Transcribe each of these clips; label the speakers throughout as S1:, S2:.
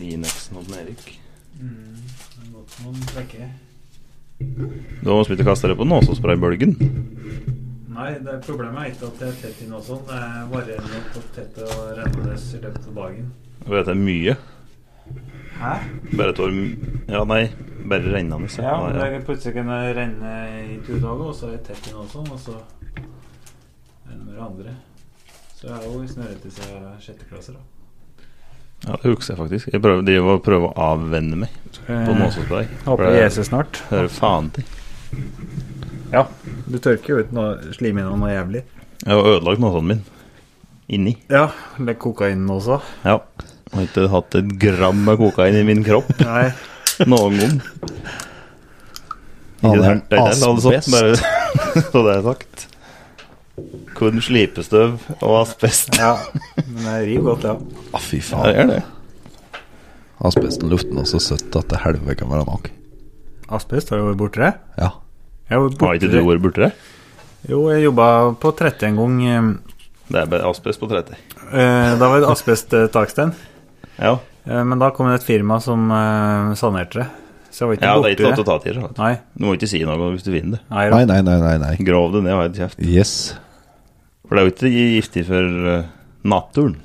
S1: Linexen og den Erik.
S2: Mm, det er godt man trekker.
S1: Du har spilt og kasta det på nåsespraybølgen.
S2: Nei, det er problemet er ikke at det er tett i noe sånt. Det er varierende hvor tett og rennende i løpet av dagen.
S1: Du vet det er mye.
S2: Hæ?
S1: Bare et år m- Ja, nei, bare rennende. så-
S2: Ja, men
S1: ja.
S2: det kan plutselig kan det renne i to dager, og så er det tett inn og sånn, og så renner det andre. Så jeg er jo i snørrete siden jeg er sjetteklasse, da.
S1: Ja, det husker jeg faktisk. Jeg prøver, driver og prøver å avvenne meg på nåsespray.
S3: Eh, Håper
S1: For jeg
S3: Jesus snart.
S1: Hører faen til.
S3: Ja. Du tørker jo ut noe slim innom noe jævlig.
S1: Jeg har ødelagt nåsen min. Inni.
S3: Ja, eller kokainen også.
S1: Ja. Jeg har ikke hatt et gram av kokain i min kropp
S3: Nei.
S1: noen gang.
S4: Han
S1: Ikke
S4: er
S1: det
S4: en
S1: det er det, altså.
S4: asbest.
S1: Bare så det er sagt. Kun slipestøv og asbest.
S3: Ja, men det rir godt, ja.
S4: Ah, fy
S1: Ja,
S4: faen.
S1: det er det.
S4: Asbesten luften er så søtt at det helvete kan være nok.
S3: Asbest, har du vært borti det?
S4: Ja.
S3: Jeg har vært
S1: Har
S3: borti
S1: ikke du
S3: det.
S1: vært borti det?
S3: Jo, jeg jobba på 30 en gang. eh,
S1: Det er bare asbest på 30.
S3: eh, Da var det asbesttakstein.
S1: Ja,
S3: Men da kom det et firma som eh, sanerte det. Så jeg var ikke
S1: ja det er ikke lov til
S3: borti
S1: å
S3: det.
S1: ta til. sant?
S3: Nei,
S1: Du må ikke si noe hvis du vinner det.
S3: nei,
S4: Nei, nei, nei, nei. nei.
S1: Grav det ned og ha et kjeft.
S4: Yes.
S1: For det er jo ikke giftig for eh, naturen.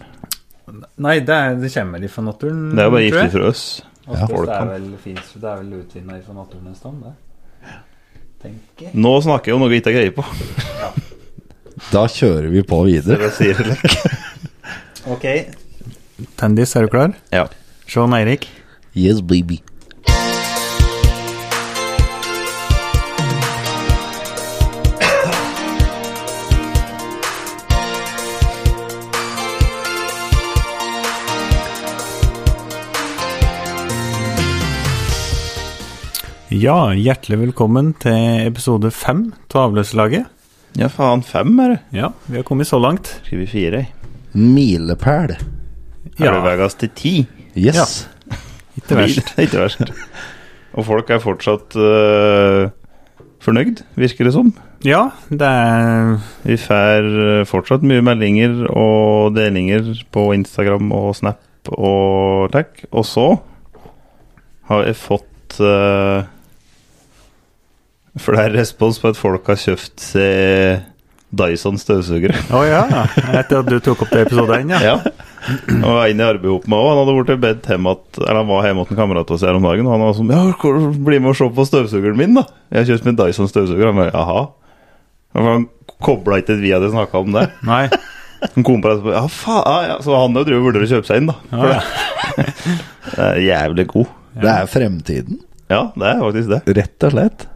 S3: nei det, er, det kommer de fra naturen,
S1: Det er jo bare
S3: tror
S1: giftig
S3: jeg.
S1: for oss.
S4: Ja,
S2: Asbest
S1: folk
S2: er
S1: kan.
S2: vel fins, det er vel utvinnet fra naturen en stand, det. Tenker jeg.
S1: Nå snakker jeg om noe jeg ikke har greie på.
S4: Da kjører vi på videre.
S1: Dere sier det lekk. Mm.
S2: Ok.
S3: Tendis, er du klar?
S1: Ja.
S3: Sean Eirik.
S4: Yes, baby.
S3: Ja, hjertelig velkommen til episode fem av Avløserlaget.
S1: ja, faen. Fem, er det.
S3: Ja, vi har kommet så langt.
S1: Skriver fire.
S4: Milepæl.
S1: Ja. Er
S3: Ja,
S1: det vegas til ti?
S4: Yes.
S3: ikke verst.
S1: Det er ikke verst. Og folk er fortsatt eh, fornøyd, virker det som.
S3: Ja, det er
S1: Vi får eh, fortsatt mye meldinger og delinger på Instagram og Snap og takk. Og så har jeg fått eh, flere respons på at folk har kjøpt seg Dyson støvsugere.
S3: Å ja. Etter at du tok opp det episode én, ja.
S1: Ja. Og en i arbeidet ihop med òg. Han hadde blitt bedt hjem at, eller han var hjemme hos en kamerat av oss her om dagen, og han var sånn Ja, hvor- bli med og se på støvsugeren min, da. Jeg har kjøpt min Dyson støvsuger. Han bare jaha. Men Han kobla ikke at vi hadde snakka om det.
S3: Nei.
S1: Han kom på det etterpå. Ja, faen, ja, ja. Så han jo driver og vurderer å kjøpe seg inn, da.
S3: Ja, ja.
S1: Det er jævlig god.
S4: Det er fremtiden,
S1: Ja, det er faktisk det.
S4: rett og slett.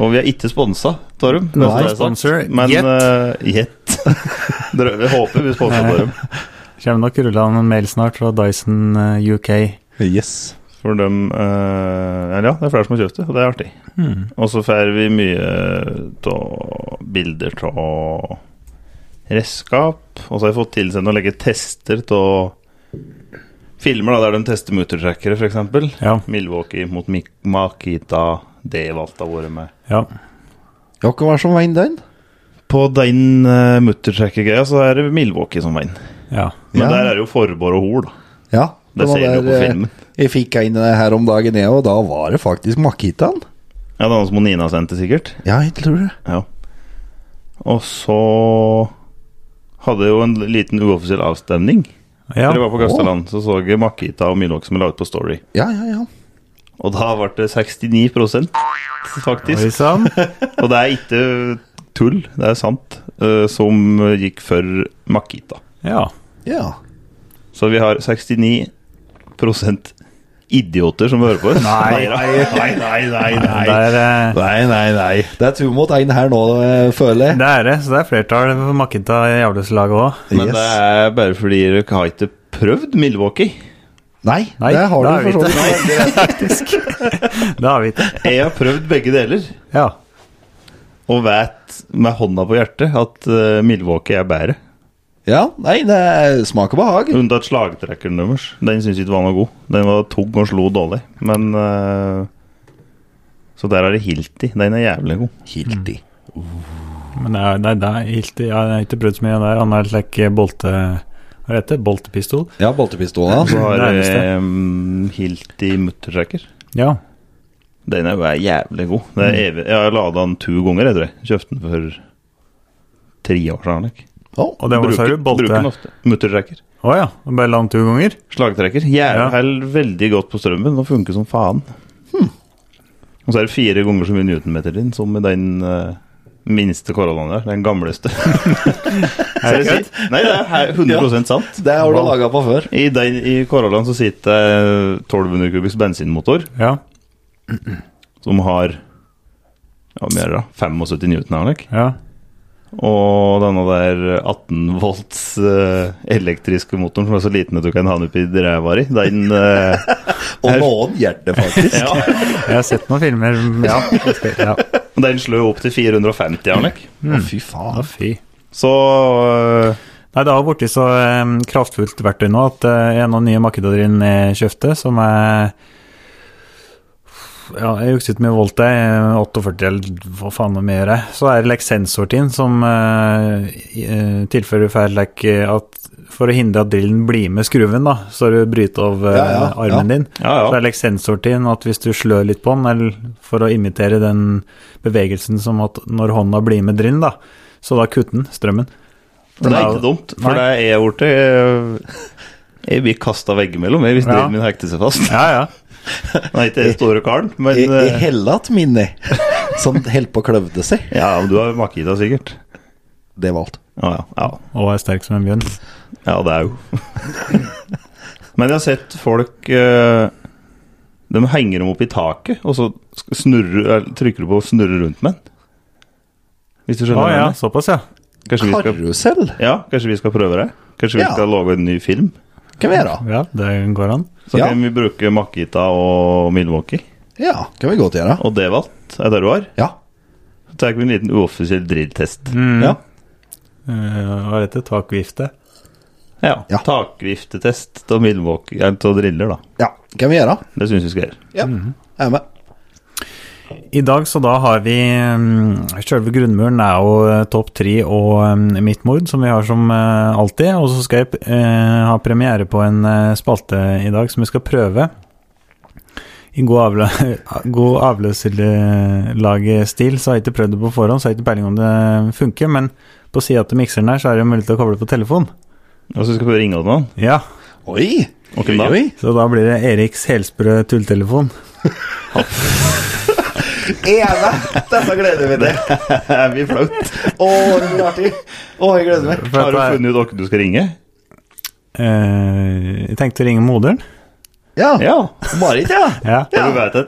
S1: Og vi er ikke sponsa, Torm. Det
S3: Nei,
S1: er sant.
S3: sponsor.
S1: Men
S3: Yet.
S1: eh, Yet. Drø- vi håper vi sponser
S3: Nei.
S1: Torm.
S3: Kommer nok rulla en mail snart fra Dyson eh, UK.
S4: Yes.
S1: For dem eh, Eller ja, det er flere som har kjøpt det, og det er artig.
S3: Hmm.
S1: Og så får vi mye eh, av bilder av redskap. Og så har jeg fått tilsendt å legge tester av filmer da, der de tester motortrackere, f.eks.
S3: Ja.
S1: Milwaukee mot Mik Makita. Det valgte jeg å være med.
S3: ja.
S4: Dere var som vant den.
S1: På den uh, muttertracker-greia så er det Milwaukee som vinner.
S3: ja.
S1: Men
S4: Ja.
S1: der er det jo forbord og hol, da.
S4: Ja.
S1: Det
S4: var
S1: ser du på
S4: der, eh,
S1: filmen.
S4: Jeg fikk en eh, her om dagen, jeg, og da var det faktisk Makitaen.
S1: Ja, det er noe som Nina sendte, sikkert.
S4: Ja, jeg tror det.
S1: Ja. Og så hadde jeg jo en liten uoffisiell avstemning.
S3: ja.
S1: Når jeg var på Gasteland, så så jeg Makita og Milwaukee som er laget på Story.
S4: Ja, ja, ja.
S1: Og da ble det 69 faktisk.
S3: Oi sann.
S1: Og det er ikke tull, det er sant, eh, som gikk for Makita.
S3: Ja.
S4: Ja.
S1: Så vi har 69 idioter som hører på oss.
S3: Nei.
S1: nei, nei, nei, nei.
S3: Det er, eh,
S4: Nei, nei, nei. Det er to mot én her nå, eh, føler jeg.
S3: det er det, så det er flertall for Makita i avløserlaget òg.
S1: Men det
S4: eh,
S1: er bare fordi dere har ikke prøvd Milwaukee.
S4: Nei,
S3: Nei,
S4: det har du
S3: det er
S4: for
S3: vi
S4: så vidt.
S3: Faktisk. Det har vi ikke.
S1: Jeg har prøvd begge deler,
S3: Ja.
S1: og vet med hånda på hjertet at eh, Milwaukee er bedre.
S4: Ja, nei, det er smak og behag.
S1: Unntatt slagtrekkeren deres. Den syns jeg ikke var noe god. Den var tung og slo dårlig. Men eh, Så der er det Hilti. Den er jævlig god.
S4: Hilti.
S3: Men det er, det er, det er helt, jeg har ikke prøvd så mye der, annet enn like bolte... Hva heter det? Boltepistol?
S4: Ja, boltepistola.
S1: Så har
S3: Nærmeste.
S1: jeg um, Hilti muttersjekker.
S3: Ja.
S1: Den er bare jævlig god. Det
S3: Mm.
S1: er evig. Jeg har lada den to ganger, jeg tror jeg. Kjøpte den for tre år siden. Like.
S4: Oh,
S3: Og det var sa du bolte
S1: bruker den
S3: Å
S1: ofte. Muttersjekker.
S3: ja. og Bare la den to ganger?
S1: Slagtrekker.
S3: Ja. Hm.
S1: Jævlig veldig godt på strømmen og funker som faen. Og så er det fire ganger så mye newtonmeter din som med den eh, minste koronaen der. Den gamleste.
S3: Er det kødd?
S1: Nei, det er 100 sant.
S4: det har du laga på før.
S1: I, den, I Korollaen så sitter det 1200 kubikks bensinmotor
S3: Ja.
S1: som har ja, mer da, 75 newton her, like.
S3: ja.
S1: og denne der 18 volts eh, elektriske motoren som er så liten at du kan ha den oppi ræva di, den eh,
S4: Og noen gjør det faktisk.
S1: ja,
S3: Jeg har sett noen filmer Ja. jeg skal- ja.
S1: Den slår jo opp til 450 her, like.
S4: Å, fy
S3: Å,
S4: faen.
S3: fy.
S1: Så eh,
S3: Nei, det har blitt så eh, kraftfullt verktøy nå at eh, en av de nye makedadrene jeg kjøpte, som er ja, jeg husker ikke mye volt det, er, 48 eller hva faen om jeg gjør det. Så er det like sensor til den som eh, i- eh, tilfører feil like, at for å hindre at drillen blir med skruven, da, så du bryter av eh,
S4: Ja, ja, ja.
S3: armen din.
S1: ja,
S3: Så
S1: ja.
S3: er det like sensor til den at hvis du slør litt på den, eller for å imitere den bevegelsen som at når hånda blir med drillen, da, så da kutter den strømmen.
S1: Det er ikke dumt, for
S3: Nei.
S1: det er jeg borte. Jeg, jeg blir kasta veggimellom jeg, hvis
S3: Ja.
S1: drillen min hekter seg fast.
S3: Ja, ja.
S1: Nei, ikke den store karen, men
S4: I, i
S1: eh,
S4: Hellat, Minni, som holdt på å kløvde seg.
S1: Ja, men du har makita sikkert.
S4: Det var alt.
S1: Ja, ja. ja.
S3: Og er sterk som en bjørn.
S1: Ja, det er jo Men jeg har sett folk eh, De henger dem opp i taket, og så sk- snurrer, eller trykker du på 'snurre rundt med den. Hvis du
S3: Å
S1: skjønner hva jeg
S3: ja,
S1: mener.
S3: såpass, ja.
S1: Kanskje vi, skal,
S4: Karusell?
S1: ja, kanskje vi skal prøve det? Kanskje vi
S4: Ja.
S1: skal lage en ny film?
S4: Kan vi gjøre.
S3: Ja, Det går an.
S1: Så
S4: Ja.
S1: kan vi bruke Makita og Milwaukee
S4: Ja, kan vi godt gjøre.
S1: og Devalt. Er det du har?
S4: Ja.
S1: Så tar vi en liten uoffisiell drilltest.
S3: Mm.
S4: ja.
S3: Eh, Hva heter det? Takvifte?
S1: Ja.
S4: Ja.
S1: Takviftetest av Milwaukee Eller av driller, da.
S4: Ja, kan vi gjøre.
S1: Det syns vi skal gjøre.
S4: Ja, jeg er med.
S3: I dag så da har vi mm, Selve grunnmuren er jo eh, topp tre og mm, mitt mord, som vi har som eh, alltid. Og så skal jeg eh, ha premiere på en eh, spalte i dag som vi skal prøve. I god, avle, god avløserlagestil, så har jeg ikke prøvd det på forhånd, så har jeg ikke peiling om det funker. Men på sida til mikseren her, så er det jo mulig til å koble på telefon.
S1: Og så skal vi ringe til han.
S3: Ja,
S4: Oi!
S1: Og hvem da?
S4: Oi,
S3: Så da blir det Eriks helsprø tulltelefon.
S4: oi. Jeg er med. Dette gleder vi til.
S1: Er vi flaut?
S4: Å, det blir artig. Å, jeg gleder meg.
S3: For
S1: Har du
S3: at det er-
S1: funnet ut hvem du skal ringe?
S3: eh, jeg tenkte å ringe moderen.
S4: Ja.
S1: Ja.
S4: Marit, ja.
S3: Ah, Ja.
S1: Ja. Du vet det.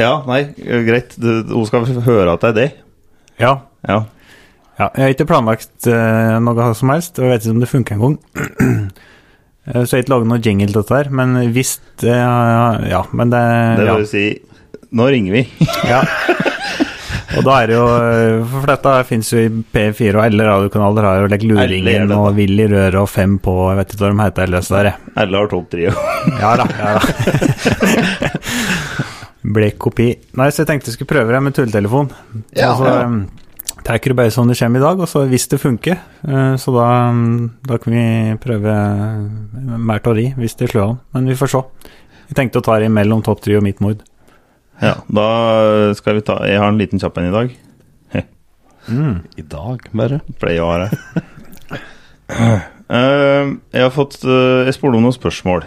S1: Ja, nei, greit. Du- Hun skal høre at det er det.
S3: ja.
S1: Ja.
S3: ja. Jeg har ikke planlagt eh, noe som helst, og jeg vet ikke om det funker engang. Eh, Så jeg har ikke laget noe jingle til dette her, men hvis eh, Ja, men det,
S1: Det
S3: Eh, ja,
S1: vil si Nå ringer vi.
S3: ja. Og da er det jo eh, For dette fins jo i P4 og alle radiokanaler har jo like
S1: Alle gjør
S3: Luringen
S1: dette.
S3: og Willy Røret og Fem på Jeg vet ikke hva de heter, alle disse der. jeg.
S1: Alle har topp trio.
S3: Ja da. ja da Blek kopi. Nei, så jeg tenkte jeg skulle prøve det med tulletelefon.
S4: Ja,
S3: Og så
S4: ja.
S3: um, tar jeg det bare som det kommer i dag, og så hvis det funker, eh, så da, um, da kan vi prøve eh, mer teori hvis det slår an. Men vi får se. Jeg tenkte å ta det imellom topp tre og mitt mord.
S1: Ja, da skal vi ta Jeg har en liten kjapp en i dag.
S3: Mm.
S4: I dag, bare.
S1: Pleier å ha det. Eh, Jeg har fått eh, Jeg spoler om noen spørsmål.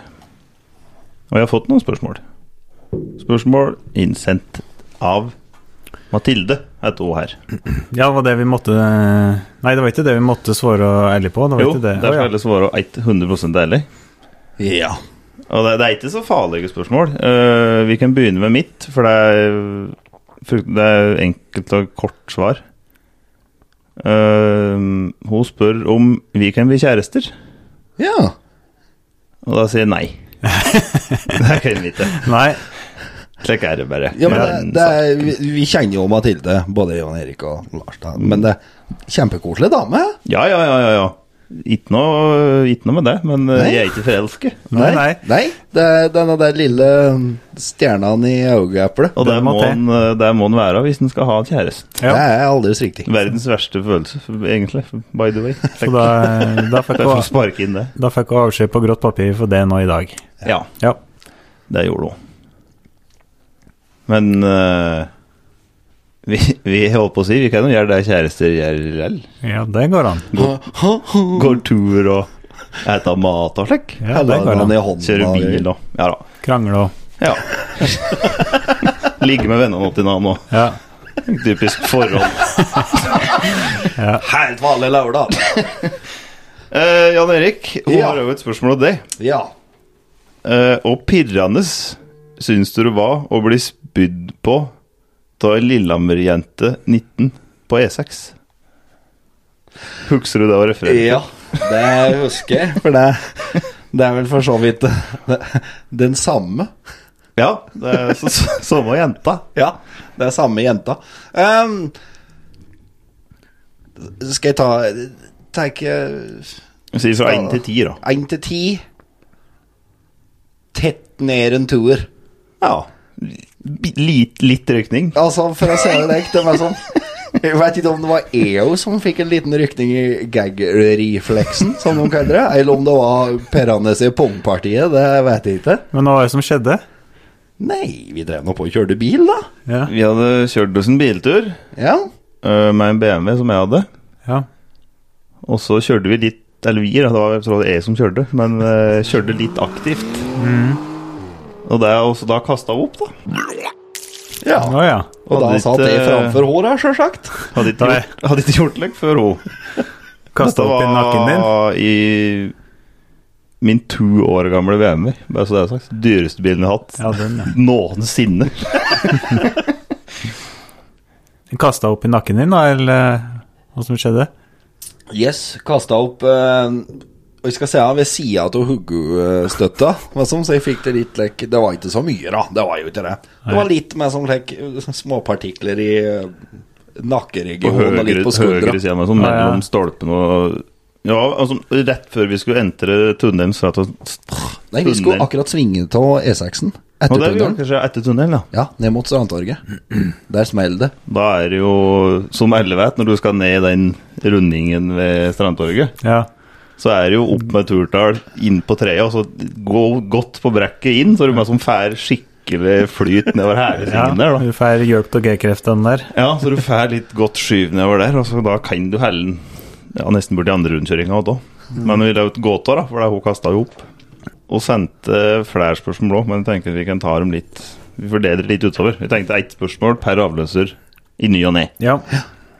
S1: Og jeg har fått noen spørsmål. Spørsmål innsendt av Mathilde, heter hun her.
S3: Ja, det var det vi måtte eh, Nei, det var ikke det vi måtte svare ærlig på. Det var
S1: Jo,
S3: ikke det.
S1: der skal
S3: Å,
S1: alle svare 100 ærlig.
S4: Ja.
S1: Og det, det er ikke så farlige spørsmål. Eh, vi kan begynne med mitt, for det er, frykt- det er enkelt og kort svar. Eh, hun spør om vi kan bli kjærester,
S4: Ja.
S1: og da sier jeg nei. det kan vi ikke.
S3: ja. Nei,
S1: Slik er det bare.
S4: ja men det,
S1: Men-
S4: det er, vi, vi kjenner jo Mathilde, både Jan Erik og Lars, da. men det er kjempekoselig dame.
S1: ja, ja, ja, ja, ja. Ikke noe, ikke noe med det, men eh,
S5: Nei.
S1: jeg er ikke forelsket.
S3: Nei, nei.
S5: Nei, det er denne der lille stjerna i øyeeplet.
S1: Og
S3: Det
S1: det
S3: må
S1: må,
S3: til.
S1: en, eh, det må en være hvis en skal ha en kjæreste.
S5: Det
S3: Ja,
S5: er aldeles riktig.
S1: Verdens verste følelse, egentlig. By the way.
S3: så da, eh, da fikk
S1: Derfor
S3: hun-
S1: sparke inn det.
S3: da fikk hun avskjed på grått papir for det nå i dag.
S1: Ja,
S3: Ja.
S1: det gjorde hun. Men eh, vi, vi holdt på å si vi kan jo gjøre det kjærester gjør likevel.
S3: Ja, det går an.
S1: Går tur og eter mat og slik.
S3: Ja, det
S5: Holder
S3: går
S5: han
S3: an.
S5: i hånda.
S1: Kjører bil og Ja da.
S3: Krangle og
S1: Ja. Ligge med vennene til hverandre òg.
S3: Ja.
S1: Typisk forhold.
S5: Helt vanlig lørdag.
S1: Eh, Jan Erik, hun
S5: Ja.
S1: har jo et spørsmål om deg.
S5: Ja.
S1: Eh, og pirrende syns du det var å bli spydd på av ei Lillehammer-jente 19 på E6? Husker du det å referere?
S5: ja. Det husker jeg, for det, det er vel for så vidt den samme.
S1: Ja, det er så, så, samme jenta.
S5: Ja, det er samme jenta. Ehm, skal jeg ta Tenke
S1: Sier fra 1 til 10, da.
S5: én til ti. Tett ned en toer.
S1: Ja. Bi- Litt, litt røykning.
S5: Altså, for å si det deg, det var sånn Jeg vet ikke om det var EO som fikk en liten rykning i gag-refleksen, som de kaller det, eller om det var Peranes i Pongpartiet, det vet jeg ikke.
S3: Men hva var det som skjedde?
S5: Nei, vi drev nå på og kjørte bil, da.
S3: Ja.
S1: Vi hadde kjørt oss en biltur
S5: Ja.
S1: eh, med en BMW som jeg hadde.
S3: ja.
S1: Og så kjørte vi litt Eller vi, da, det var jeg tror det var jeg som kjørte, men eh, kjørte litt aktivt. Og det er også da kasta opp, da.
S5: ja.
S3: Å ja.
S5: Og da
S1: Hadde
S5: satt
S1: ikke-
S5: jeg framfor henne, sjølsagt.
S1: Hadde ikke
S3: Nei.
S1: gjort, hadde ikke gjort lekk før hun.
S3: Kasta opp i nakken din?
S1: i min to år gamle BMW. Bare så det er sagt. Dyreste bilen jeg har hatt
S3: Ja, den, ja.
S1: noensinne.
S3: Kasta opp i nakken din, da, eller eh, hva som skjedde?
S5: Yes, kasta opp eh, Og jeg skal si han ved sida av hoggestøtta. hva som, Så jeg fikk det litt like, Det var ikke så mye, da. Det var jo ikke det. Det var litt mer som like, småpartikler i eh,
S1: På
S5: nakkeregionen og
S1: høyre,
S5: litt på skuldra.
S1: høyre siden av meg, sånn
S3: Ja, ja.
S1: mellom stolpene og Ja, altså rett før vi skulle entre tunnelen, så at
S5: Nei, vi skulle akkurat svinge av E6-en.
S1: Og
S5: Etter
S1: det gjorde
S5: tunnelen.
S1: kanskje etter tunnelen, ja.
S5: Ja, ned mot Strandtorget. Der smeller det.
S1: Da er det jo, som alle vet, når du skal ned i den rundingen ved Strandtorget,
S3: Ja.
S1: så er det jo opp med turtall, inn på treet, og så gå godt på brekket inn, så er du med som fær skikkelig flyt nedover hele
S3: ja.
S1: svingen der, da.
S3: Du får hjelp av G-kreftene der.
S1: Ja, så du fær litt godt skyv nedover der, og så da kan du helle den ja, nesten bort i andre rundkjøringa òg, da. Men vi la ut gåta, da, for det er hun kasta jo opp. Og sendte flere spørsmål òg, men jeg tenker vi kan ta dem litt Vi fordeler litt utover. Vi tenkte ett spørsmål per avløser i ny og ne.
S3: Ja.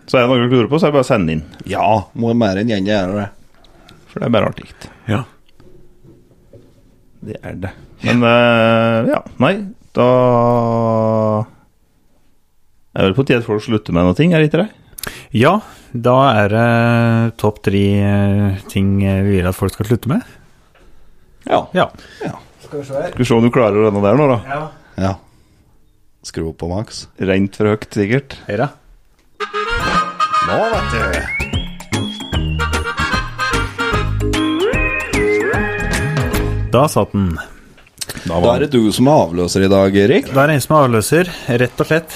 S1: Så er det noe du lurer på, så er det bare å sende inn.
S5: Ja, må mer enn gjerne gjøre det.
S1: For det er bare artig.
S3: ja.
S1: Det er det. Men eh, ja, nei, da er vel på tide at folk slutter med noe ting, er det ikke det?
S3: Ja, da er det topp tre eh, ting vi vil at folk skal slutte med.
S1: Ja.
S3: Ja.
S2: Skal vi se her.
S1: Skal vi se om du klarer denne der nå, da.
S2: Ja.
S5: Ja. Skru opp på maks.
S1: Rent for høyt, sikkert.
S3: Heira.
S5: Nå, vet du.
S3: Da satt den.
S1: Da
S5: Da
S1: var
S5: er det du som er avløser i dag, Erik.
S3: Da er det en som er avløser, rett og slett.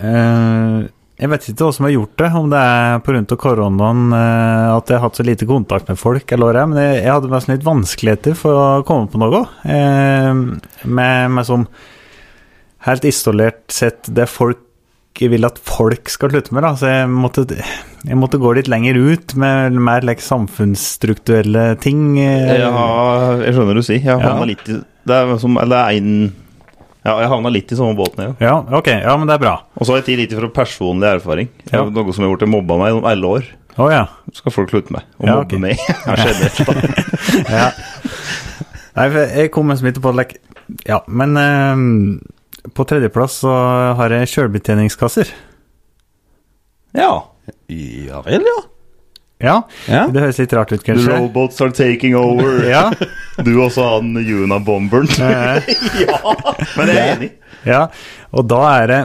S3: Eh, jeg vet ikke hva som har gjort det, om det er pga. koronaen eh, at jeg har hatt så lite kontakt med folk, eller hva det er, men jeg, jeg hadde nesten litt vanskeligheter for å komme på noe. eh, med, med sånn helt isolert sett det folk jeg vil at folk skal slutte med, da. Så jeg måtte, jeg måtte gå litt lenger ut med mer like, samfunnsstrukturelle ting. eh.
S1: Ja, jeg skjønner du sier. Jeg
S3: Ja.
S1: havna litt i Det er som Eller en Ja, jeg havna litt i samme båten, jeg òg.
S3: ja, ok. Ja, men det er bra.
S1: Og så har jeg tid litt fra personlig erfaring.
S3: Ja.
S1: Noe som har gjort jeg mobba meg gjennom alle år.
S3: Å ja.
S1: Skal folk slutte med å
S3: Ja,
S1: mobbe
S3: ok.
S1: meg? Ja, generelt, da.
S3: ja. Nei, for jeg kom med smitte på det, like. Ja, men eh, på tredjeplass så har jeg kjølbetjeningskasser.
S1: Ja.
S5: Ja vel, ja.
S3: Ja,
S5: Ja.
S3: det høres litt rart ut,
S1: The
S3: kanskje.
S1: robots are taking over.
S3: Ja,
S1: Du også han Juna-bomberen.
S3: eh,
S1: Men jeg er enig.
S3: ja, og da er det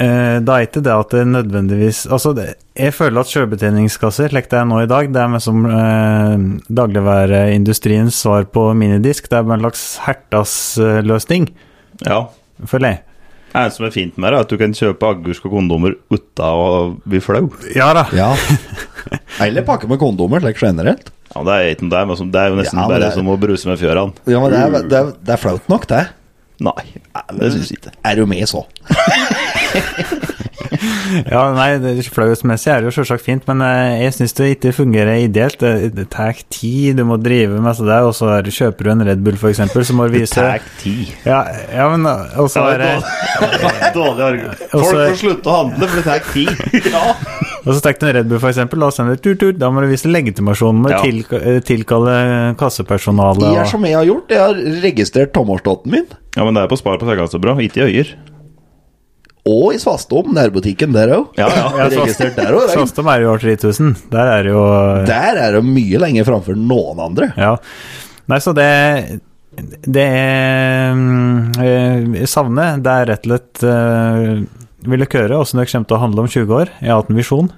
S3: eh, Da er ikke det at det nødvendigvis Altså, det, jeg føler at sjølbetjeningskasser, slik det er nå i dag, det er mer som eh, dagligvareindustriens svar på minidisk. Det er bare en slags hertasløsning,
S1: Ja.
S3: føler jeg.
S1: Det eneste som er fint med det, er at du kan kjøpe agurk og kondomer uten å bli flau.
S3: Ja da.
S5: Ja. Eller pakke med kondomer, slik generelt.
S1: Ja, det er, ikke noe der, men som- det er jo nesten
S5: Ja, men
S1: bare
S5: det er-
S1: som å bruse med fjørene.
S5: Ja, men det er, det er, det er flaut nok, det.
S1: Nei, det syns jeg ikke.
S5: Er du med, så?
S3: Ja, nei, det- Flauhetsmessig er det jo selvsagt fint, men eh, jeg syns det ikke fungerer ideelt. Det, det tar tid, du må drive med det der, og så er, det- kjøper du en Red Bull, for eksempel, så må du vise
S1: Tag ti.
S3: ja, ja, men eh, og så er det
S1: Dårlig argument.
S3: Og
S1: Folk
S3: så-
S1: får slutte å handle, for det tar ti. Ja.
S3: Og så tar du en Red Bull, for eksempel, og sender tut-tut. Da må du vise legitimasjon, må du
S1: Ja.
S3: tilka- eh, tilkalle kassepersonalet
S5: Jeg
S3: og
S5: er som jeg har gjort. Jeg har registrert tomårsdotten min.
S1: ja, men det er på Spar på Sørlandsbra, ikke i Øyer.
S5: Og i Svastom, nærbutikken der òg.
S1: Ja, ja.
S5: Jeg har registrert der òg. Regn.
S3: Sånn er det jo år 3000. Der er det jo
S5: Der er det mye lenger framfor noen andre.
S3: Ja. Nei, så det Det er mm, eh, savnet. Det er rett og slett eh, Ville høre åssen dere kommer til å handle om 20 år. Jeg har hatt en visjon.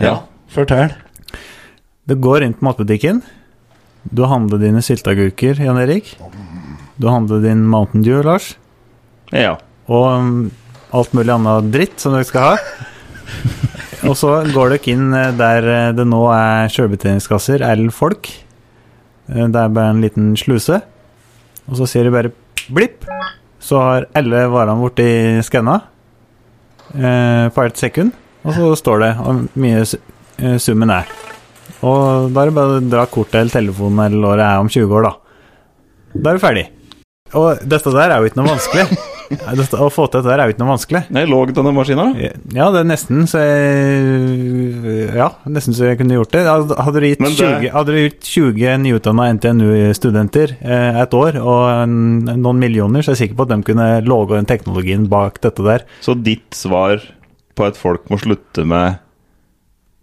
S5: Ja, fortell.
S3: Du går inn på matbutikken. Du handler dine sylteagurker, Jan Erik. Du handler din Mountain Dew, Lars.
S1: Ja.
S3: og mm, alt mulig annet dritt som dere skal ha. Og så går dere inn eh, der eh, det nå er sjølbetjeningskasser eller folk. Eh, Det er bare en liten sluse. Og så sier du bare blipp, så har alle varene blitt skanna eh, på ett sekund. Og så står det hvor mye su- eh, summen er. Og da er det bare å dra kortet eller telefonen eller hva det er om 20 år, da. Da er du ferdig. Og dette der er jo ikke noe vanskelig. Ja, dette, å få til dette her er jo ikke noe vanskelig.
S1: Nei, lå denne maskina? da?
S3: Ja, det er nesten så jeg Ja, nesten så jeg kunne gjort det. Hadde hadde du gitt
S1: Men det-
S3: 20, hadde du gitt 20 nyutdanna NTNU-studenter eh, et år og en, noen millioner, så er jeg sikker på at de kunne logge den teknologien bak dette der.
S1: Så ditt svar på at folk må slutte med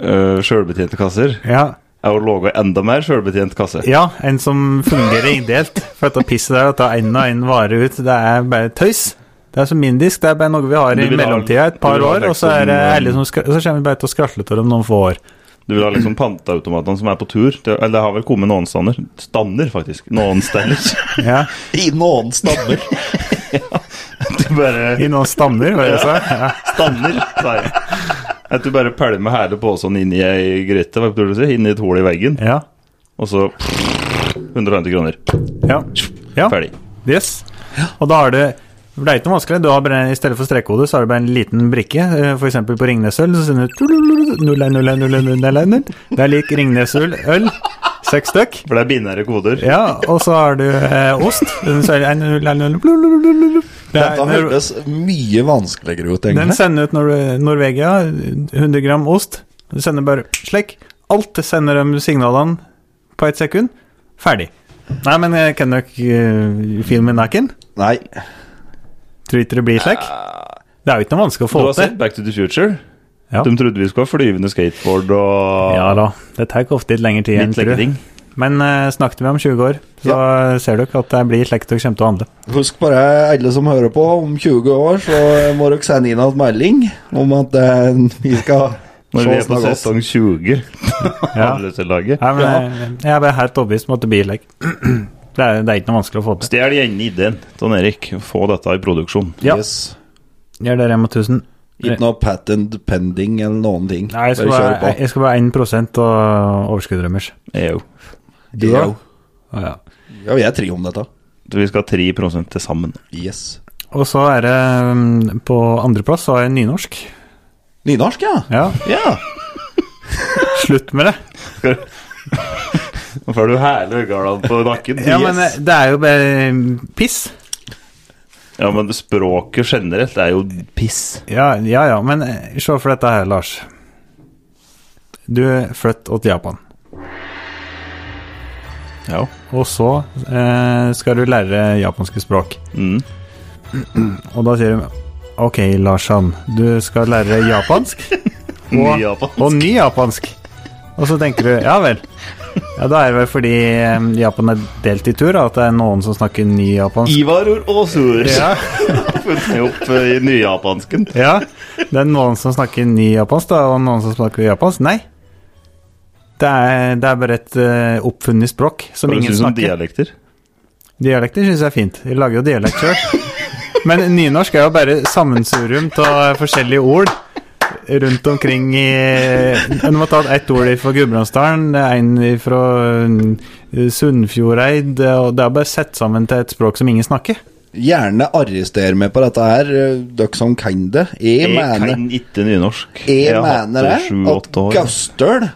S1: uh, sjølbetjente kasser,
S3: Ja,
S1: er å lage enda mer sjølbetjent kasse?
S3: ja en som fungerer ideelt. For dette pisset der, å ta én og én vare ut, det er bare tøys. Det er som indisk, det er bare noe vi har
S1: Du
S3: i
S1: vil ha-
S3: mellomtida et par
S1: du vil ha
S3: år, og så er det
S1: liksom-
S3: alle som skra- så kommer vi bare til å skrasle til dem om noen få år.
S1: Du vil ha liksom panteautomatene som er på tur? Det, eller det har vel kommet noen stander? Stander, faktisk. Noen steder.
S3: Ja.
S5: I noen stammer.
S1: Du bare
S3: I noen stammer, var det jeg sa? Ja.
S1: Stander, sa jeg. At du bare pælmer hele posen inn i ei gryte, hva prøver du å si? Inn i et hull i veggen,
S3: Ja.
S1: og så 150 kroner.
S3: ja. ja.
S1: Ferdig.
S3: Yes. Og da har du for Det er ikke noe vanskelig. Du har bare, I stedet for strekkode så har du bare en liten brikke. Eh, For eksempel på Ringnesøl så sender du 010101010. Det er lik Ringnesøl øl. Seks stykk.
S1: For det er binære koder.
S3: Ja, og så har du eh, ost. Så er det 0101010. Det er
S5: Dette
S3: når-
S5: hørtes mye vanskeligere ut,
S3: Den
S5: egentlig.
S3: sender ut Nor Norvegia 100 gram ost. Du sender bare slik. Alt sender de signalene på ett sekund. Ferdig. Nei, men jeg kan nok uh, filme naken.
S5: Nei.
S3: Tror ikke det blir slik. Det er jo ikke noe vanskelig å
S1: Du
S3: få
S1: har sett
S3: til.
S1: Back to the Future?
S3: Ja.
S1: De trodde vi skulle ha flyvende skateboard og
S3: Ja da, det tar ikke ofte litt lengre tid enn
S1: litt lekkere
S3: tror.
S1: ting.
S3: Men eh, snakket vi om 20 år, så ser dere at det blir slik dere kommer til å handle.
S5: Husk bare, alle som hører på, om 20 år så må dere sende inn en melding om at eh, vi skal
S1: Når
S5: se
S1: vi er
S5: åssen
S1: på
S5: det har gått.
S1: sesong 20,
S3: Ja.
S1: handleslaget.
S3: Nei, men, jeg- Jeg er bare helt overbevist om at det blir slik. Det er, det er ikke noe vanskelig å få til.
S1: Stjel gjerne ideen til Erik. Få dette i produksjon.
S3: Ja.
S5: Yes.
S3: Gjør det, Rema 1000.
S5: Ikke noe patent pending eller noen ting.
S3: Nei, jeg skal
S5: bare kjør
S3: være,
S5: på.
S3: jeg skal være 1 av overskuddet deres.
S1: EU.
S3: Du da?
S5: Jo. Ja, vi er tre om dette.
S1: Så vi skal ha 3 til sammen.
S5: Yes.
S3: Og så er det mm, på andreplass så har jeg nynorsk.
S5: Nynorsk, ja.
S3: Ja,
S5: Ja.
S3: slutt med det.
S1: Nå får du hele Øygarden på nakken.
S3: Ja, men eh, det er jo bare mm, piss.
S1: Ja, men språket generelt er jo piss.
S3: Ja, ja, ja, men eh, se for dette her, Lars. Du er flytt til Japan,
S1: Ja.
S3: og så eh, skal du lære japanske språk.
S1: Mm.
S3: Og da sier du Ok, Larsan, du skal lære japansk
S1: Ny Japan.
S3: og ny japansk. Og så tenker du ja vel. Ja, Da er det vel fordi eh, Japan er delt i tur, da, at det er noen som snakker ny japansk.
S1: Ivaror og Sur.
S3: Ja.
S1: funnet opp eh, i nyjapansken.
S3: Ja, det er noen som snakker nyjapansk, da, og noen som snakker japansk. Nei. Det er, det er bare et eh, oppfunnet språk som
S1: Høres
S3: ingen
S1: ut som
S3: snakker.
S1: dialekter.
S3: Dialekter syns jeg er fint. Jeg lager jo dialekt sjøl. Men nynorsk er jo bare sammensurium av forskjellige ord rundt omkring i Du må ta ett ord fra Gudbrandsdalen, en fra eh, Sunnfjordeid og Det er bare sett sammen til et språk som ingen snakker.
S5: Gjerne arrester meg på dette her, eh, dere som kan det. Jeg,
S1: Jeg
S5: mener,
S1: kan ikke nynorsk.
S5: jeg
S1: har
S5: mener
S1: hatt det
S5: det,
S1: i
S5: at
S1: sju-åtte år.
S5: Gaustøl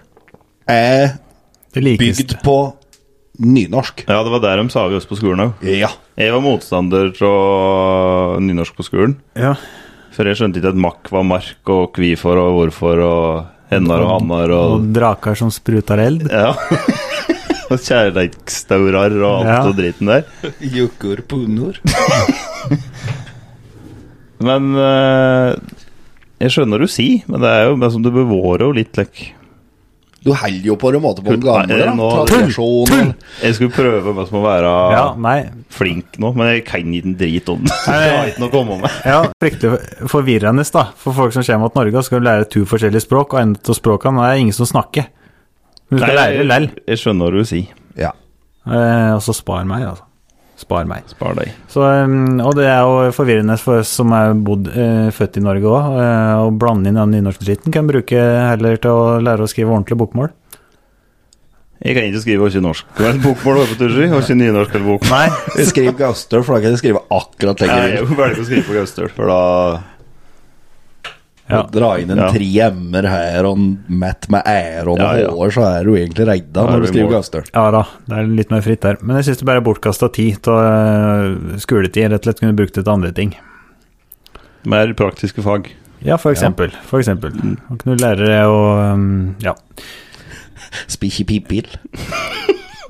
S5: er
S3: Det likes.
S5: bygd på nynorsk.
S1: Ja, det var der de sa vi oss på skolen òg.
S5: Ja.
S1: Jeg var motstander av nynorsk på skolen.
S3: Ja.
S1: For jeg skjønte ikke at makk var mark, og kvifor og hvorfor, og hennar og hannar og
S3: Og draker som spruter eld.
S1: Ja. Og kjærleikstaurar og alt
S3: Ja.
S1: og driten der.
S5: Jukkur punor.
S1: Men eh, Jeg skjønner du sier, men det er jo men som du bevårer jo litt like.
S5: Du holder jo på en måte på den
S1: Nei,
S5: gamle da.
S1: nå-
S5: tradisjonen.
S1: Jeg skulle prøve meg som å være
S3: Ja, nei,
S1: flink nå, men jeg kan ikke en drit om det. Så
S3: Nei.
S1: jeg har ikke noe å komme med.
S3: Ja, fryktelig forvirrende da, for folk som kommer til Norge og skal lære to forskjellige språk, og enda av språkene er det ingen som snakker. Men du skal lære det lell.
S1: jeg, jeg skjønner hva du sier.
S5: Ja.
S3: Eh, og så spar meg, altså. Spar meg.
S1: Spar deg.
S3: Så, eh, og det er jo forvirrende for oss som er bodd, eh, født i Norge òg, eh, å blande inn den nynorskdritten. Kan bruke heller til å lære å skrive ordentlig bokmål.
S1: Jeg kan ikke skrive ikke norsk. Det var et bokmål over på Tusji, og ikke nynorsk eller bokmål.
S3: Nei,
S5: Skriv Gaustøl, for da kan jeg skrive akkurat det
S1: Nei,
S5: jeg
S1: jeg
S5: vil.
S1: velger å skrive på Gaustøl, for da
S3: Ja.
S5: Dra inn en
S1: Ja.
S5: tre m-er her og en mett med æron
S1: Ja, ja.
S5: og hår, så er du egentlig redda
S1: Da er
S5: når du
S1: vi i
S5: skriver
S1: mål.
S5: Gaustøl.
S3: ja da, det er litt mer fritt der. Men jeg syns det bare er bortkasta tid til å, eh, skoletid. Rett og slett kunne brukt det til andre ting.
S1: Mer praktiske fag.
S3: Ja, for eksempel. For eksempel. Man kunne lære det å um, Ja.
S5: Spikki pipil.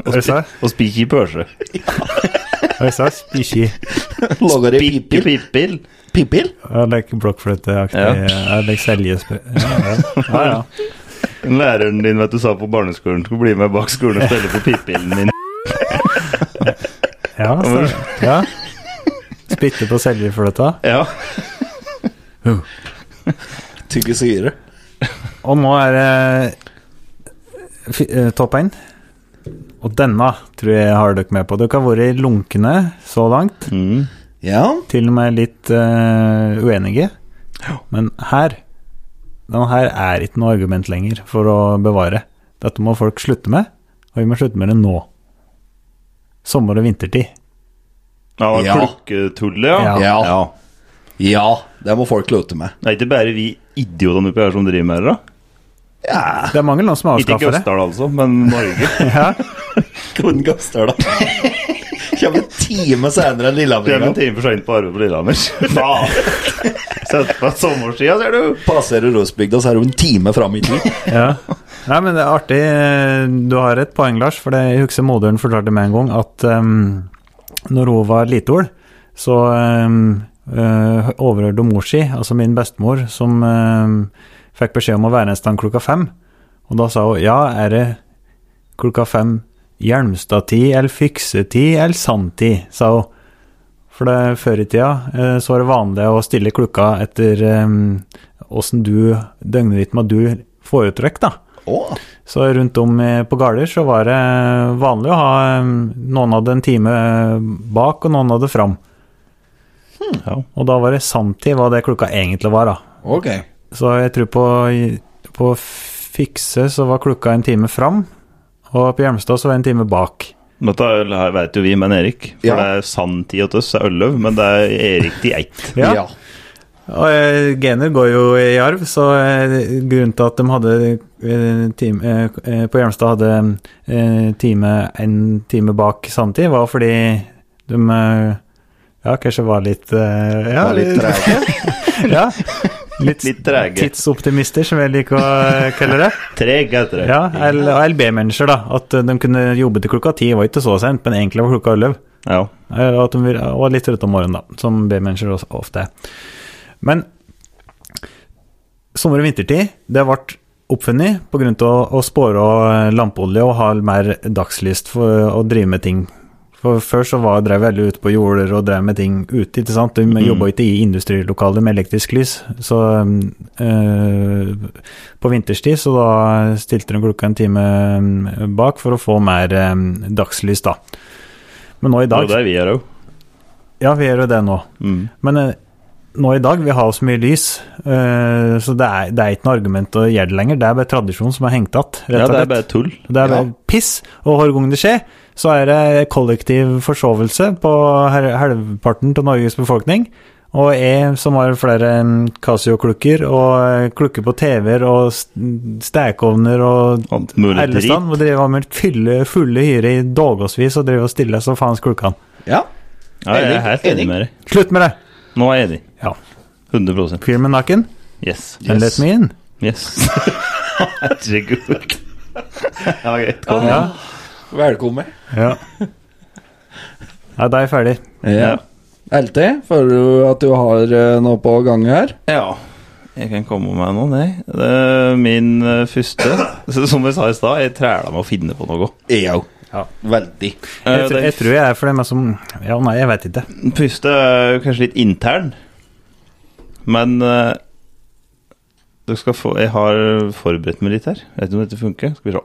S3: Hva sa jeg?
S1: Og spikke i pølse.
S3: Hva sa jeg? Spishi.
S5: Lager i
S1: Spikke
S5: pipil.
S1: pipil.
S5: Pipil?
S3: Jeg liker blokkfløyteaktig
S1: Ja.
S3: Jeg liker seljesprø... Ja, ja. ja, ja.
S1: Læreren din vet du sa på barneskolen skulle bli med bak skolen og spille på pippilen min.
S3: ja, så, ja. Spytte på seljefløyta.
S1: Ja,
S5: Tygge syre.
S3: Og nå er det fi- eh, topp én. Og denne tror jeg har dere med på. Dere har vært lunkne så langt.
S1: mm.
S5: Ja.
S3: Til og med litt eh, uenige. Men her Den her er ikke noe argument lenger for å bevare. Dette må folk slutte med, og vi må slutte med det nå. Sommer- og vintertid.
S1: ja,
S5: Ja.
S1: klukketullet, ja.
S3: Ja.
S5: Ja. Ja, det må folk lute med.
S1: Det er ikke bare vi idiotene oppi her som driver med det, da.
S5: Ja.
S3: Det er mange land som
S1: Ikke i
S3: avskaffer det.
S1: Gausdal, altså, men Norge.
S3: Ja,
S5: Kun Gaustøl, da. Kommer en time senere enn
S1: Det er en
S5: Lillehammer.
S1: time for seint på arbeid på Lillehammer. Faen! Sett på sommersida, ser du.
S5: Passerer Rosbygda, så er du en time fram i tid.
S3: ja. Nei, men det er artig. Du har et poeng, Lars. For det, jeg husker moderen fortalte meg en gang at um, når hun var liteol, så um, uh, overhørte hun mor si, altså min bestemor, som um, fikk beskjed om å være en stand klokka fem. Og da sa hun ja, er det klokka fem Hjelmstad-tid eller fiksetid eller sanntid, sa hun. For det, før i tida eh, så var det vanlig å stille klokka etter ehm, åssen du døgnrytma du foretrekk, da.
S5: Å,
S3: Så rundt om i- på Gardøy så var det vanlig å ha eh, Noen hadde en time bak, og noen hadde fram.
S1: ja.
S3: Og da var det sanntid hva det klokka egentlig var, da.
S5: ok.
S3: Så jeg tror på, på Fikse så var klokka en time fram, og på Hjelmstad så var det en time bak.
S1: Dette er- her vet jo vi, men Erik. For
S5: Ja.
S1: det er sanntid hos oss, er Ølløv, men det er Erik til Eit.
S3: Ja. Og eh, gener går jo i arv, så eh, grunnen til at de hadde eh, time, eh, eh, på Hjelmstad hadde eh, time, en time bak sanntid, var fordi de eh, ja, kanskje var litt eh, ja,
S5: Var litt trege.
S3: ja, litt,
S1: Litt trege.
S3: tidsoptimister, som jeg liker å eh, kalle det.
S1: Treg etter det.
S3: Ja, L- og LB-mennesker, da. At eh, de kunne jobbe til klokka ti, var ikke så sent, men egentlig var klokka elleve.
S1: Ja.
S3: Eh, Og, at de vil, og litt trøtte om morgenen, da, som B-mennesker også ofte er. Men sommer- og vintertid, det ble oppfunnet eh, pga. å, å spåre og lampeolje og ha mer dagslyst for å drive med ting. For Før så var, drev jeg veldig ute på jorder og drev med ting ute. ikke sant?
S1: Mm.
S3: De jobba ikke i industrilokaler med elektrisk lys. Så eh, på vinterstid så da stilte de klokka en time eh, bak for å få mer eh, dagslys, da. Men nå i
S1: Og
S3: dag
S1: det er vi her òg.
S3: Ja, vi gjør jo det nå.
S1: Mm.
S3: Men eh, nå i dag, vi har så mye lys, eh, så det er, det er ikke noe argument å gjøre det lenger. Det er bare tradisjon som er hengt igjen, rett
S1: Ja, det
S3: og
S1: er
S3: slett.
S1: bare tull.
S3: Det er
S5: Ja.
S3: bare piss, og hver gang det skjer, så er det kollektiv forsovelse på hel- halvparten av Norges befolkning. Og jeg, som har flere mm, Casio-klukker, og eh, klukker på TV-er og st- stekeovner og
S1: Alt mulig
S3: alle
S1: drit.
S3: stand, må drive med fylle, fulle hyre i dagevis og drive og stille så faens klukkan.
S5: Ja.
S1: Ja, jeg er helt enig med deg.
S3: Slutt med det!
S1: Nå er jeg enig.
S3: Ja.
S1: 100
S3: Fyr med nakken,
S1: Yes.
S3: and let me in.
S1: Yes. Herregud. Ja, greit. Kom igjen.
S3: Ja.
S5: Velkommen.
S3: Ja. Nei, da er jeg ferdig.
S1: Ja.
S5: LT, føler du at du har eh, noe på gang her?
S1: Ja, jeg kan komme med noen, jeg. Det er Min eh, første Så Som jeg sa i stad, jeg træla med å finne på noe.
S5: Jo.
S3: Ja.
S5: Veldig.
S1: Eh,
S3: Jeg, tr-
S1: Den
S3: jeg tror jeg er for dem som Ja, nei, jeg vet ikke.
S1: f- første er jo kanskje litt intern, men eh, dere skal få, Jeg har forberedt meg litt her. Jeg vet ikke om dette funker. Skal vi se.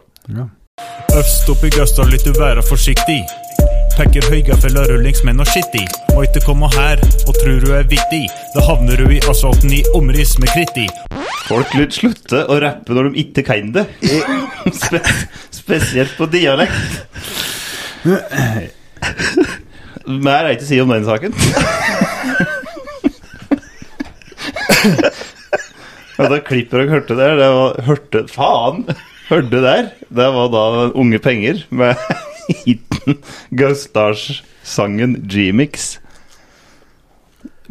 S6: Øst opp i Gausdal, litt du være forsiktig. Pekker høygafella rullings med noe skitt i. Må ikke komme her og tror du er vittig. Da havner du i asfalten i omriss med kritt i.
S1: Folk lytt slutte å rappe når de ikke kan det. Spe spesielt på dialekt. Mer er ikke å si om den saken. Og da klippet dere hørte der, det var Hørte Faen! Hørte der. Det var da Unge Penger med hiten Gaustars-sangen G-Mix.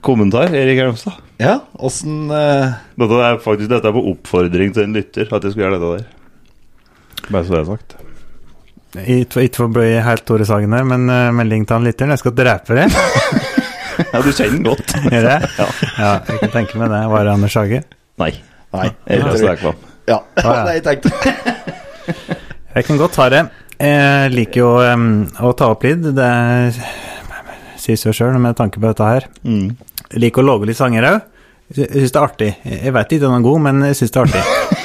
S1: Kommentar Erik Elmstad.
S5: Ja, åssen eh,
S1: Dette er faktisk dette er på oppfordring til en lytter, at jeg skulle gjøre dette der. Bare så det er sagt.
S3: Ikke for- ikke for å bli helt Tore Sagen her, men eh, melding til han lytteren. Jeg skal drepe deg.
S1: Ja, du kjenner den godt.
S3: Gjør jeg?
S1: Ja.
S3: Ja, jeg kan tenke meg det. Var det Anders Hage?
S1: Nei.
S5: Nei.
S1: Jeg er
S5: jeg
S1: ikke
S5: tror-
S1: sterk på ham.
S5: Ja.
S3: ja.
S5: Nei, jeg tenkte
S3: Jeg kan godt ta det. Jeg liker jo em, å ta opp lyd. Det er- sies jo sjøl med tanke på dette her.
S1: Mm.
S3: Jeg liker å lage litt sanger òg. Jeg syns det er artig. Jeg vet ikke om den er god, men jeg syns det er artig.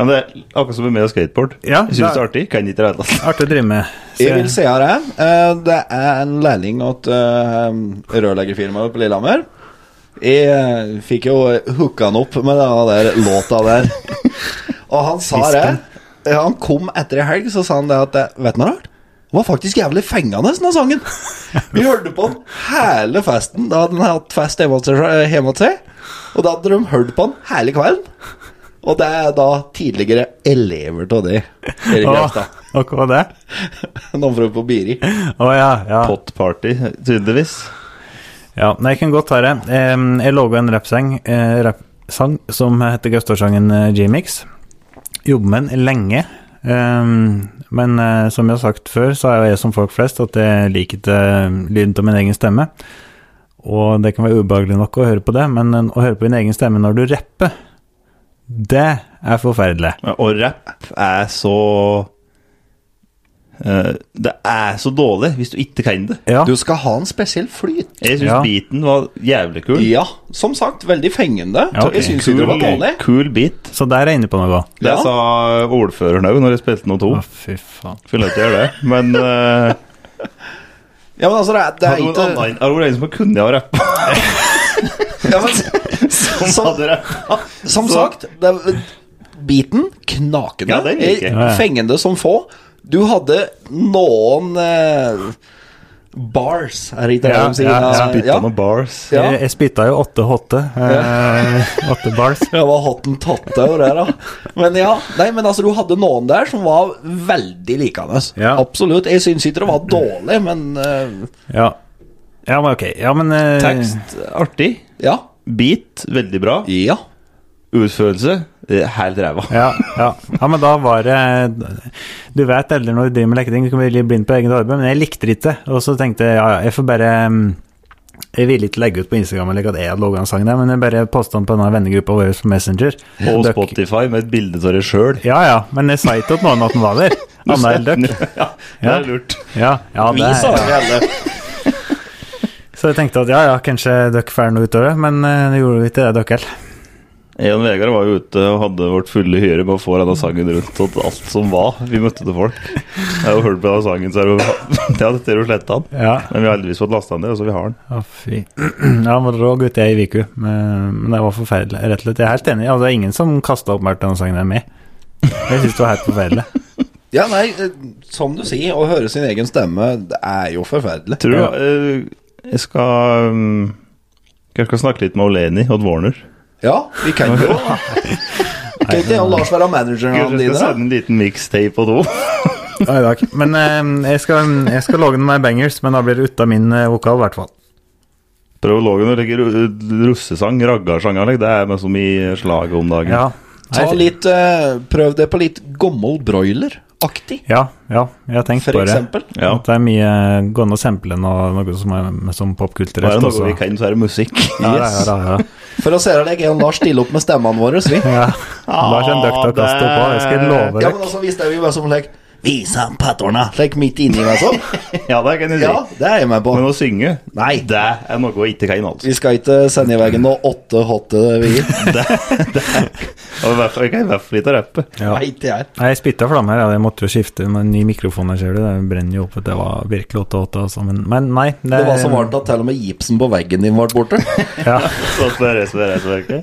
S1: Ja, men det er akkurat som med skateboard.
S3: Ja,
S1: Jeg syns det er artig. Kan ikke det hele tatt.
S3: Artig å drive med. Så
S5: Jeg vil si her, jeg. Eh, Det er en lærling åt eh, rørleggerfirmaet på Lillehammer. Jeg eh, fikk jo hooka han opp med den der låta der. Og han sa det. eh, Han kom etter ei helg, så sa han det at eh, Vet du noe rart? Det var faktisk jævlig fengende, den sangen. Vi hørte på den hele festen. Da hadde han hatt fest hjemme hos seg, eh, hjemme hos seg. Og da hadde de hørt på den hele kvelden. Og det er da tidligere elever av de. Erik
S3: Å,
S5: Grevstad.
S3: og hva var det?
S5: Noen fra på Biri.
S3: Å ja, ja.
S1: Pot party, tydeligvis.
S3: Ja, nei, jeg kan godt ta det. Em, jeg laga en rappsang, eh, rappsang som heter Gaustorsangen eh, G-Mix. Jobber med den lenge. Em, men eh, som jeg har sagt før, så er jo jeg som folk flest at jeg liker ikke eh, lyden av min egen stemme. Og det kan være ubehagelig nok å høre på det, men eh, å høre på din egen stemme når du rapper, det er forferdelig.
S1: Ja, Og rapp er så eh, Det er så dårlig hvis du ikke kan det.
S3: Ja,
S5: Du skal ha en spesiell flyt.
S1: Jeg syns
S3: Ja.
S1: beaten var jævlig kul.
S5: Ja, som sagt, veldig fengende.
S3: Ja, ok.
S5: Jeg syns ikke det var dårlig.
S1: Kul beat.
S3: så der er jeg inne på noe.
S1: Det
S5: Ja.
S1: sa ordføreren òg når jeg spilte noe
S5: Oh.
S1: to.
S3: Å, fy faen.
S1: Skulle ikke gjøre det, men eh,
S5: Ja, men altså, det er, det er
S1: Hadde noen
S5: ikke
S1: annen, hadde vært en som kunne ha rappa,
S5: ja, men,
S1: som
S5: Som,
S1: hadde rappa.
S5: som
S1: Så-
S5: sagt, det er, biten knakende.
S1: Ja, den liker jeg.
S5: Eh, Fengende som få. Du hadde noen eh, bars, er det ikke det
S3: Ja,
S5: de sier?
S3: ja, ja.
S1: Spytta noen bars.
S5: Ja.
S3: Jeg, jeg spytta jo åtte hotte. Eh, åtte bars.
S5: Det var hottentotte og det, da. Men ja, nei, men altså, du hadde noen der som var veldig likende.
S3: Ja.
S5: Absolutt. Jeg syns ikke det var dårlig, men eh,
S3: Ja. ja, men ok. Ja, men eh,
S1: Tekst artig.
S5: ja.
S1: Beat veldig bra.
S5: Ja.
S1: Utførelse eh, helt ræva.
S3: Ja, ja. ja, men da var det Du vet eldre når du driver med leketing, du kan bli litt blind på eget arbeid, men jeg likte det ikke. Og så tenkte jeg ja, ja, jeg får bare mm, Jeg ville ikke legge ut på Instagram eller ikke at jeg hadde logga en sang der, men jeg bare posta den på denne vennegruppa vår på Messenger.
S1: Og
S3: Dere-
S1: Spotify med et bilde av deg sjøl.
S3: Ja ja, men jeg sa ikke til noen at den var der. Anna eller dere.
S1: Ja, det er lurt.
S3: Ja, ja, det
S5: Vi sa
S3: er,
S5: det alle.
S3: Så jeg tenkte at ja ja, kanskje dere får noe ut av det, men eh, det gjorde vi ikke det, dere heller.
S1: Jan Vegard var jo ute og hadde vårt fulle hyre med å få denne sangen rundt og alt som var. Vi møtte til folk. Jeg har jo hørt på denne sangen, så er det jo Ja, dette er jo sletta den.
S3: Ja.
S1: Men vi har heldigvis fått lasta den ned, og så vi har den.
S3: Å, fy. Ja, han var rå gutt, jeg i Viku, men, men det var forferdelig. Rett og slett. Jeg er helt enig. Altså, det er ingen som kasta opp Martin og sangen der med. Jeg syns det var helt forferdelig.
S5: Ja, nei, eh, som du sier, å høre sin egen stemme, det er jo forferdelig.
S1: Tror du
S3: Ja.
S1: eh, Jeg skal um, Jeg skal snakke litt med Oleni, Odd Warner.
S5: Ja, vi kan jo Kan ikke jeg og Lars være manageren av
S1: Kanskje jeg
S5: dine?
S1: skal sende en liten mixtape og noe.
S3: Ja, i dag. Men eh, jeg, skal, jeg skal logge noen mer bangers, men da blir det uten min eh, vokal, i hvert fall.
S1: Prologen å legge ru- russesang, raggarsanganlegg, det er meg som i slaget om dagen.
S3: Ja.
S5: Ta litt, eh, Prøv det på litt gammel broiler-aktig,
S3: Ja, ja. Jeg har tenkt
S5: for
S3: på det.
S5: eksempel.
S1: Ja.
S3: At det er mye eh, gående å sample og noe som er som
S1: Er det
S3: popkulturelt
S1: noe
S3: også.
S1: vi kan, så er det musikk.
S3: Ja, ja, ja, ja,
S5: For å se deg, jeg og Lars stille opp med stemmene våre, vi.
S3: ja. Lars er en døkt til å kaste opp også, det
S1: Ah,
S3: skal jeg love
S5: Ja,
S3: deg.
S5: men altså, hvis det er jo bare som like, Visa patterna, like midt inni meg sånn.
S1: Ja, det kan jeg si.
S5: Ja, det er jeg med på.
S1: Men å synge,
S5: Nei.
S1: det er noe jeg ikke kan, altså.
S5: Vi skal ikke sende i veien noe åtte hotte vi
S1: Og i hvert fall- Jeg kan i hvert fall ikke rappe.
S3: Ja.
S5: Nei, ikke jeg.
S3: Nei, Jeg spytta flammer, ja. Jeg måtte jo skifte med en ny mikrofon. her, ser du. Det brenner jo opp. Det var virkelig 8-8, altså. Men, men nei. Det,
S5: Det var så varmt at til og med gipsen på veggen din ble borte.
S3: Ja.
S1: Så det er det som er det som er ikke.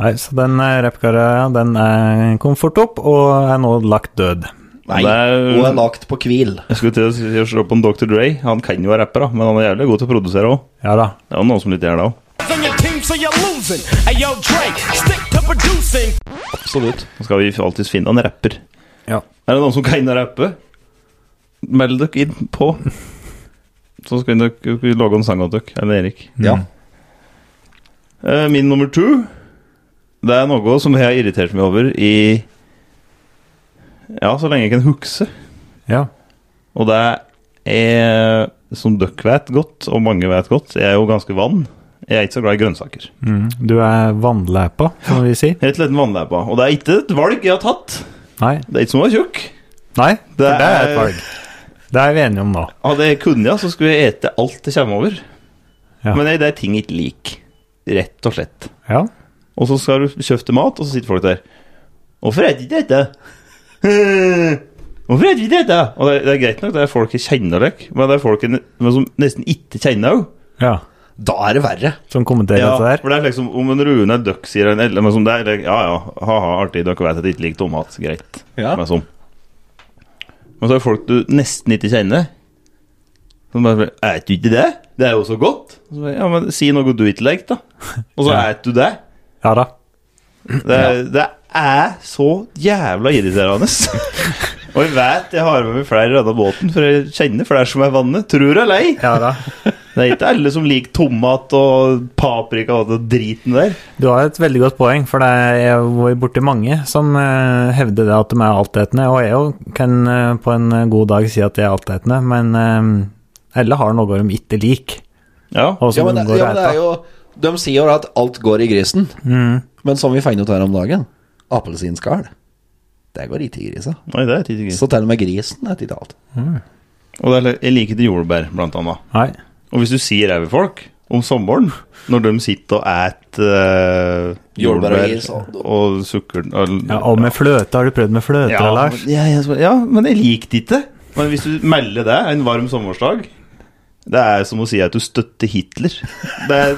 S3: Nei, så den eh, rappkara, ja, den eh, kom fort opp, og er nå lagt død.
S5: Nei,
S1: Det er-
S5: hun er lagt på hvil.
S1: Jeg skulle til å si- å slå på en Dr. Dre. Han kan jo være rapper, da, men han er jævlig god til å produsere òg.
S3: Ja da.
S1: Det er jo noen som litt gjør det òg.
S7: on your team, so you're losing. Hey, yo, Drake, stick to producing.
S5: Absolutt.
S1: Så skal vi alltids finne en rapper.
S3: Ja.
S1: Er det noen som kan rappe? Meld dere inn på. Så skal dere skal vi lage en sang av dere. Eller Erik.
S3: Mm.
S5: Ja.
S1: Eh, Min nummer to Det er noe som jeg har irritert meg over i Ja, så lenge jeg kan huske.
S3: Ja.
S1: Og det er, som dere vet godt, og mange vet godt, jeg er jo ganske vann. Jeg er ikke så glad i grønnsaker.
S3: Mm. Du er vannlæpa, som vi sier.
S1: Jeg er et liten vannlæpa, og det er ikke et valg jeg har tatt.
S3: Nei.
S1: Det er ikke som å være tjukk.
S3: Nei, for
S1: Det
S3: det er
S1: er-
S3: et valg. Det er vi enige om nå.
S1: Hadde jeg kunnet, så skulle jeg ete alt det kommer over.
S3: Ja.
S1: Men det er ting jeg ikke liker. Rett og slett.
S3: Ja.
S1: Og så skal du kjøpe mat, og så sitter folk der. Hvorfor spiser ikke dette? Hvorfor spiser ikke dette? Og det, det er greit nok, det er folk jeg kjenner, dere, men det er folk jeg, ne- men som nesten ikke kjenner òg.
S3: ja.
S5: Da er det verre.
S3: Som kommenterer
S1: Ja,
S3: dette der.
S1: for det er liksom om en Rune Duck sier en eller men som det er, eller, Ja ja, ha-ha, artig, dere vet at jeg ikke liker tomat. Greit.
S5: Ja.
S1: Men, sånn. men så er det folk du nesten ikke kjenner. Som bare spør, Et du ikke det? Det er jo så godt. Og Så, bare, ja, men si noe du ikke liker, da. Og så et du det.
S3: Ja da.
S1: Det, det er så jævla irriterende. Og jeg vet jeg har med meg flere i denne båten, for jeg kjenner flere som er vannet. Tror jeg lei.
S3: Ja da.
S1: Det er ikke alle som liker tomat og paprika og den driten der.
S3: Du har et veldig godt poeng, for det er, jeg har vært borti mange som eh, hevder det at de er altetende, og jeg jo kan eh, på en god dag si at jeg er altetende, men eh, alle har noe de ikke liker.
S1: Ja.
S3: og
S5: Ja,
S3: som de
S5: men, det-
S3: går
S5: ja, men det
S3: og
S5: er jo De sier jo at alt går i grisen. Men som vi fant ut her om dagen, appelsinskall, det går ikke i grisa.
S1: Nei, det er ikke gøy.
S5: Så til og med grisen er ikke alt.
S1: Og det er, jeg liker ikke jordbær, blant annet.
S3: Nei.
S1: Og hvis du sier ræve folk om sommeren, når de sitter og et eh,
S5: Jordbær og
S1: jordbær
S5: is og-
S1: og sukker og,
S3: Ja, og med fløte, har du prøvd med fløte,
S1: ja,
S3: Lars?
S1: ja, jeg- ja, men jeg likte det ikke. Men hvis du melder det en varm sommersdag Det er som å si at du støtter Hitler. Det er,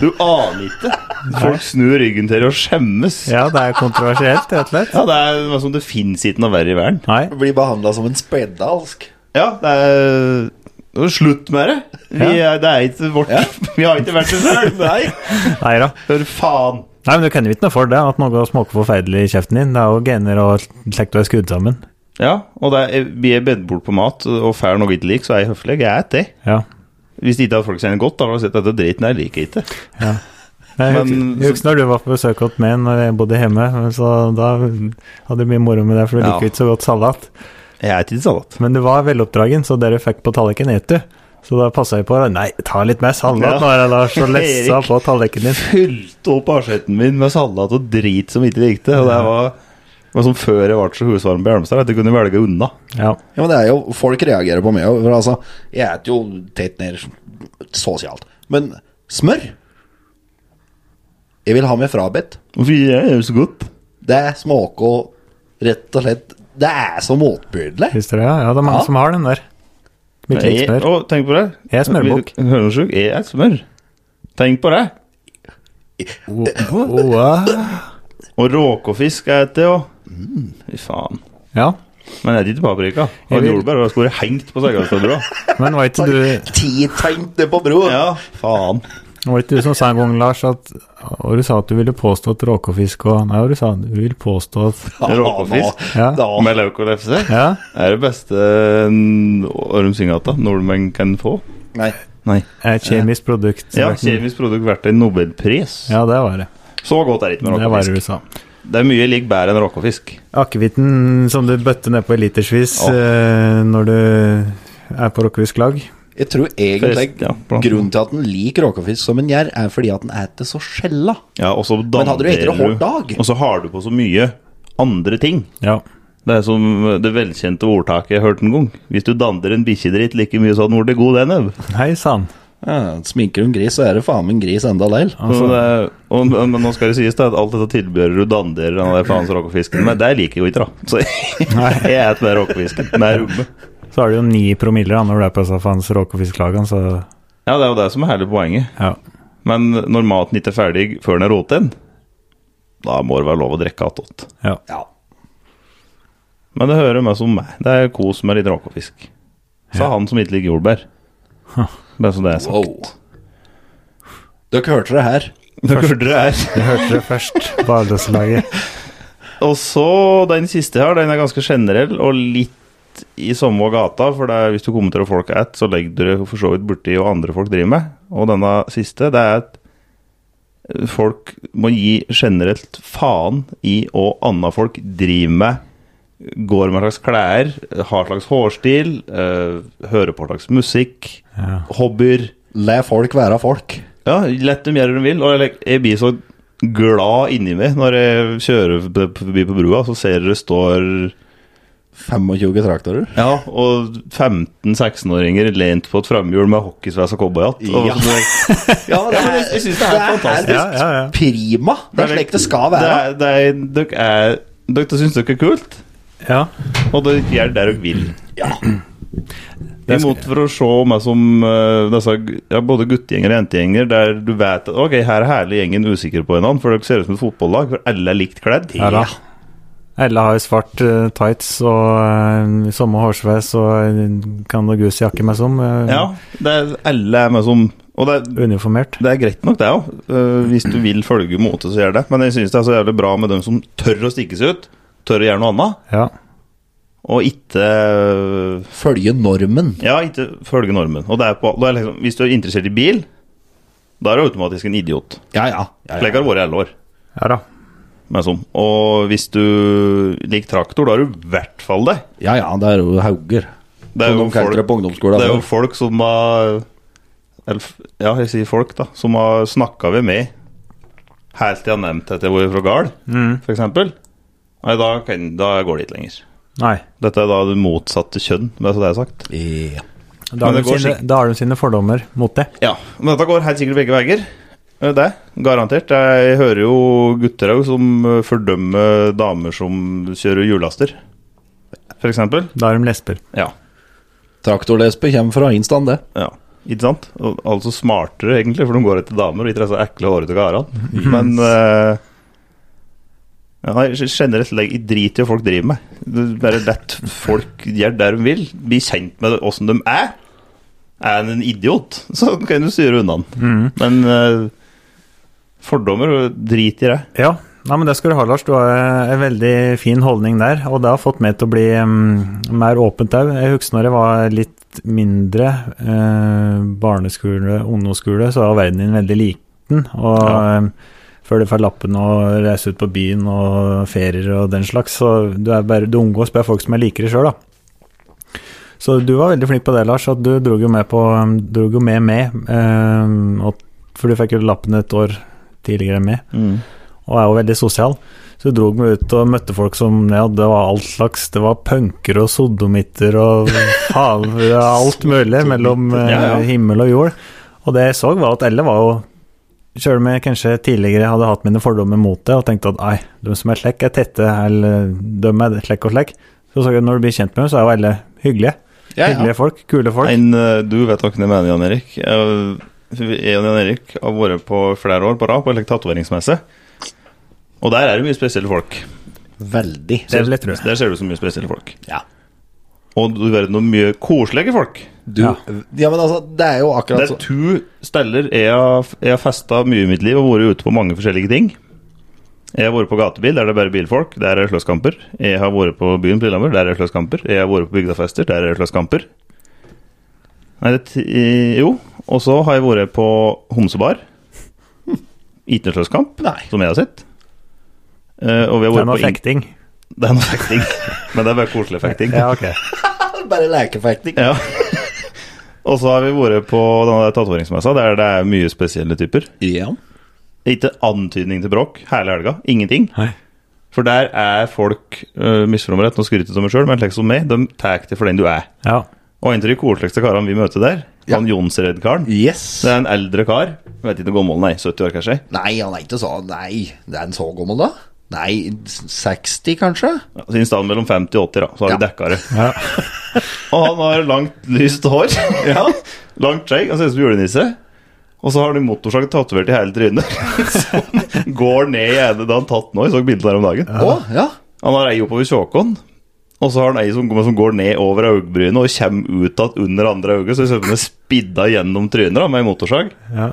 S1: du aner ikke. Folk snur ryggen til deg og skjemmes. Ja,
S3: Ja, det er kontroversielt, rett og slett.
S1: det er noe som det fins ikke noe verre i verden.
S3: Nei.
S5: Blir behandla som en spedalsk.
S1: Ja, det er nå er det Slutt med det! Vi, er, det er ikke vårt
S5: Ja.
S1: Vi har ikke vært det sjøl! Nei!
S3: Nei da.
S1: For faen!
S3: Nei, men du kan jo ikke noe for det, at noe smaker forferdelig i kjeften din. Det er jo gener og slikt du er skrudd sammen.
S1: Ja, og det er, vi er bedt bort på mat, og får noe ikke lik, så er jeg høflig. Jeg spiser det.
S3: Ja.
S1: Hvis ikke hadde folk kjenner godt, da hadde de sett dette driten her liker jeg ikke.
S3: Jeg
S1: Men-
S3: husker- jeg husker når du var på besøk hos meg når jeg bodde hjemme, så da hadde jeg mye moro med deg, for du
S1: Ja.
S3: liker jo ikke så godt salat.
S1: Jeg spiser ikke salat.
S3: Men du var veloppdragen, så det du fikk på tallerkenen, et du. Så da passa jeg på. da. Nei, ta litt mer salat
S1: Ja.
S3: nå, jeg, Lars, og lessa
S1: Erik.
S3: på tallerkenen din.
S1: Fylte opp asjetten min med salat og drit som ikke likte. Og det var, det var som før jeg ble så husvarm på Hjelmstad, at jeg kunne velge unna.
S3: Ja.
S5: Ja, men det er jo, Folk reagerer på meg òg. For altså, jeg spiser jo tett ned så å si alt. Men smør Jeg vil ha meg frabedt.
S1: Hvorfor gjør jeg det så godt?
S5: Det smaker rett og slett Det er så motbydelig.
S3: Visste du det? Ja, det er mange
S5: Ja.
S3: som har den der. Som ikke liker
S1: Jeg-
S3: smør.
S1: Å, tenk på det.
S3: Jeg er smørbukk.
S1: Vi- Hønesjuk, jeg er smør. Tenk på det.
S3: Oh, ah.
S1: Og råkefisk er et det òg. Fy faen.
S3: Ja,
S1: Men jeg er ikke paprika. Og
S3: Mm. Jeg vil-
S1: jordbær og jeg skulle hengt på Segalstadbrua.
S3: men var ikke du
S5: Ti tegn ned på bro.
S1: Ja, faen.
S3: Det var ikke du som sa en gang, Lars, at og du sa at du ville påstå at råkefisk og Nei, og du sa du vil påstå at
S1: Råkefisk.
S3: Ja.
S5: Da,
S1: Med løk og lefse.
S3: Ja,
S1: Det er det beste Ormsingata nordmenn kan få.
S5: nei.
S1: Nei.
S3: et kjemisk produkt.
S1: Ja, kjemisk produkt verdt en nobelpris.
S3: Ja, det var det.
S1: Så godt er det ikke med
S3: Det var det
S1: råkefisk.
S3: du sa.
S1: Det er mye lik bedre enn råkefisk.
S3: Akevitten som du bøtter nedpå i litersvis
S1: Ja.
S3: eh, når du er på råkefisklag.
S5: Jeg tror egentlig
S1: Forresten, ja, blant-
S5: grunnen til at den liker råkefisk som en gjær, er fordi at den spiser så skjella.
S1: Ja, og så
S5: Men hadde du
S1: danner
S5: etter en hård dag?
S1: Og så har du på så mye andre ting.
S3: Ja.
S1: Det er som det velkjente ordtaket jeg hørte en gang. Hvis du danner en bikkjedritt like mye sånn, hvor det god den er.
S3: Hei sann.
S5: Ja, sminker du en gris, så er det faen meg en gris enda leil.
S3: Altså,
S1: Så det er- og, men nå skal det sies da, at alt dette tilbehøret du danner av den faens råkefisken med, det liker jeg jo ikke, da. Så jeg er et mer råkefisken. Med rumme.
S3: Så har du jo ni promiller da, når du er på Safans råkefisklag, så
S1: Ja, det er jo det som er hele poenget.
S3: ja.
S1: Men når maten ikke er ferdig før den er roten, da må det være lov å drikke attåt.
S3: ja.
S5: Ja.
S1: Men det hører med som meg. Det er kos med litt råkefisk. Sa han som ikke liker jordbær. Bare så det er sagt.
S5: Wow. Dere hørte det her.
S1: Dere hørte det her.
S3: Jeg hørte det først på Arendalslaget.
S1: Og så den siste her, den er ganske generell og litt i samme gata, for det er, hvis du kommenterer folk at, så legger dere for så vidt borti hva andre folk driver med. Og denne siste, det er at folk må gi generelt faen i hva andre folk driver med. Går med slags klær, har slags hårstil, eh, hører på slags musikk,
S3: Ja.
S1: hobbyer.
S5: La folk være folk.
S1: Ja, lett dem gjøre det de vil. Og jeg, jeg blir så glad inni meg når jeg kjører p- forbi på brua, så ser dere står
S5: 25 traktorer.
S1: Ja, og 15-16-åringer lent på et framhjul med hockeysveis og cowboyhatt. Og-
S5: Ja. Ja, det er, jeg syns det er fantastisk.
S3: Ja, ja, ja.
S5: Prima. Det er slik det skal være.
S1: Det er- det er- Dere er- dere syns dere er kult,
S3: ja.
S1: og dere gjør det dere vil.
S5: Ja.
S1: Imot for å se meg som eh, disse, g- ja, både guttegjenger og jentegjenger der du vet at ok, her er hele gjengen usikker på hverandre, for dere ser ut som et fotballag, for alle er likt kledd.
S3: Ja da. Ella har jo svart eh, tights og eh, samme hårsveis og en Kandagus-jakke meg som. eh,
S1: Ja, det er, alle er med som Og det er,
S3: Uniformert.
S1: det er greit nok, det òg. hvis du vil følge motet, så gjør det. Men jeg syns det er så jævlig bra med dem som tør å stikke seg ut. Tør å gjøre noe annet.
S3: Ja.
S1: Og ikke
S5: Følge normen.
S1: Ja, ikke følge normen. Og det er på, det er liksom, hvis du er interessert i bil, da er du automatisk en idiot.
S5: Ja, ja. ja,
S1: Slik har det vært i alle år.
S3: ja da.
S1: med sånn. Og hvis du liker traktor, da er du i hvert fall det.
S5: ja, ja det er jo hauger.
S1: Det er jo
S5: Som de kalte det på ungdomsskolen.
S1: Det er jo folk som har eller, f- Ja, jeg sier folk, da. Som har snakka vi med helt til jeg har nevnt at jeg var fra Gard,
S3: Mm.
S1: for f.eks. Nei, da, kan, da går det ikke lenger.
S3: Nei.
S1: Dette er da det motsatte kjønn, bare så det er sagt.
S5: Ja.
S3: Da har,
S1: Men det
S3: de
S1: går
S3: sine,
S1: sikkert.
S3: da har de sine fordommer mot det.
S1: Ja, Men dette går helt sikkert begge veier. Eh, Det, garantert. Jeg hører jo gutter òg som eh, fordømmer damer som kjører hjullaster, f.eks.
S3: Da er de lesber.
S1: Ja.
S5: Traktorlesbe kommer fra Instan, det.
S1: Ja, ikke sant? Og- Altså smartere, egentlig, for de går etter damer og ikke er så ekle og hårete karene. Men eh, ja, nei, generelt legg i drit i hva folk driver med. Det er Bare lett folk gjør det de vil. Bli kjent med åssen de er. Er en en idiot, så kan du styre unna
S3: Mm.
S1: den. Men eh, fordommer, drit i det.
S3: Ja. Nei, men det skal du ha, Lars. Du har eh, en veldig fin holdning der. Og det har fått meg til å bli mm, mer åpent òg. Jeg husker når jeg var litt mindre, eh, barneskole, ungdomsskole, så var verden din veldig liten. Og
S1: Ja.
S3: eh, før du får lappen og reiser ut på byen og ferier og den slags, så du, er bare, du omgås bare folk som er likere sjøl, da. Så du var veldig flink på det, Lars, at du dro jo med på dro jo med med. eh, og, for du fikk jo lappen et år tidligere enn meg,
S1: Mm.
S3: og er jo veldig sosial. Så du dro meg ut og møtte folk som ja, det var alt slags. Det var punkere og sodomitter og faen, det var alt mulig mellom eh,
S1: Ja, ja.
S3: himmel og jord. Og det jeg så, var at alle var jo Sjøl om jeg kanskje tidligere hadde hatt mine fordommer mot det og tenkte at nei, de som er slekk, er tette, eller de er slekk og slekk, så så jeg at når du blir kjent med dem, så er jo alle hyggelige.
S5: Ja, ja.
S3: Hyggelige folk, kule folk.
S1: En, eh, du vet hva jeg mener, Jan Erik. Eh, Jeg og Jan Erik har vært på flere år på rad på en slik tatoveringsmesse. Og der er det mye spesielle folk.
S5: Veldig.
S3: Det vil jeg tro.
S1: Der ser du så mye spesielle folk.
S5: Ja.
S1: Og du verden noen mye koselige folk.
S5: Du
S3: Ja.
S5: Ja, men altså, det er jo
S1: Det
S5: akkurat
S1: er
S5: sånn.
S1: to steder jeg har, jeg har festa mye i mitt liv og vært ute på mange forskjellige ting. Jeg har vært på gatebil, der er det bare bilfolk. Der er det slåsskamper. Jeg har vært på byen på Lillehammer, der er det slåsskamper. Jeg har vært på bygdafester, der er det slåsskamper. Nei, det t eh, Jo. Og så har jeg vært på homsebar. Ikke noe slåsskamp,
S5: Nei.
S1: som jeg har sett. Eh, og vi har
S3: Det er
S1: vært
S3: noe
S1: på ing-
S3: fekting.
S1: Det er noe fekting. Men det er bare koselig fekting.
S3: Ja, ok.
S5: Bare lekefekting.
S1: Ja. Og så har vi vært på denne der tatoveringsmessa, der det er mye spesielle typer.
S5: Ja.
S1: Ikke antydning til bråk hele helga. Ingenting.
S3: Nei.
S1: For der er folk uh, misfornøyd og skryter av meg sjøl, men slik som meg, de tar det for den du er.
S3: Ja.
S1: Og en av de koseligste karene vi møter der,
S5: Ja.
S1: han Jonsred-karen
S5: Yes.
S1: Det er en eldre kar. Jeg vet ikke hvor gammel han er. 70 år, kanskje?
S5: Nei, han er ikke så Nei, det er en så gammel, da? Nei, 60 kanskje?
S1: Ja, så Altså, I stedet mellom 50 og 80, da. Så har vi
S5: Ja.
S1: dekka det.
S3: Ja.
S1: Og han har langt, lyst hår. Langt skjegg. Han ser ut som julenisse. Og så har han en motorsag tatovert i hele trynet. Som går ned i ene da han tatt nå. Jeg så bildet der om dagen.
S5: Å, ja.
S1: Han har ei oppover kjåkon, og så har han ei som, som går ned over øyebrynet og kommer ut att under andre øyet, så søpene spidda gjennom trynet da, med ei motorsag.
S3: Ja.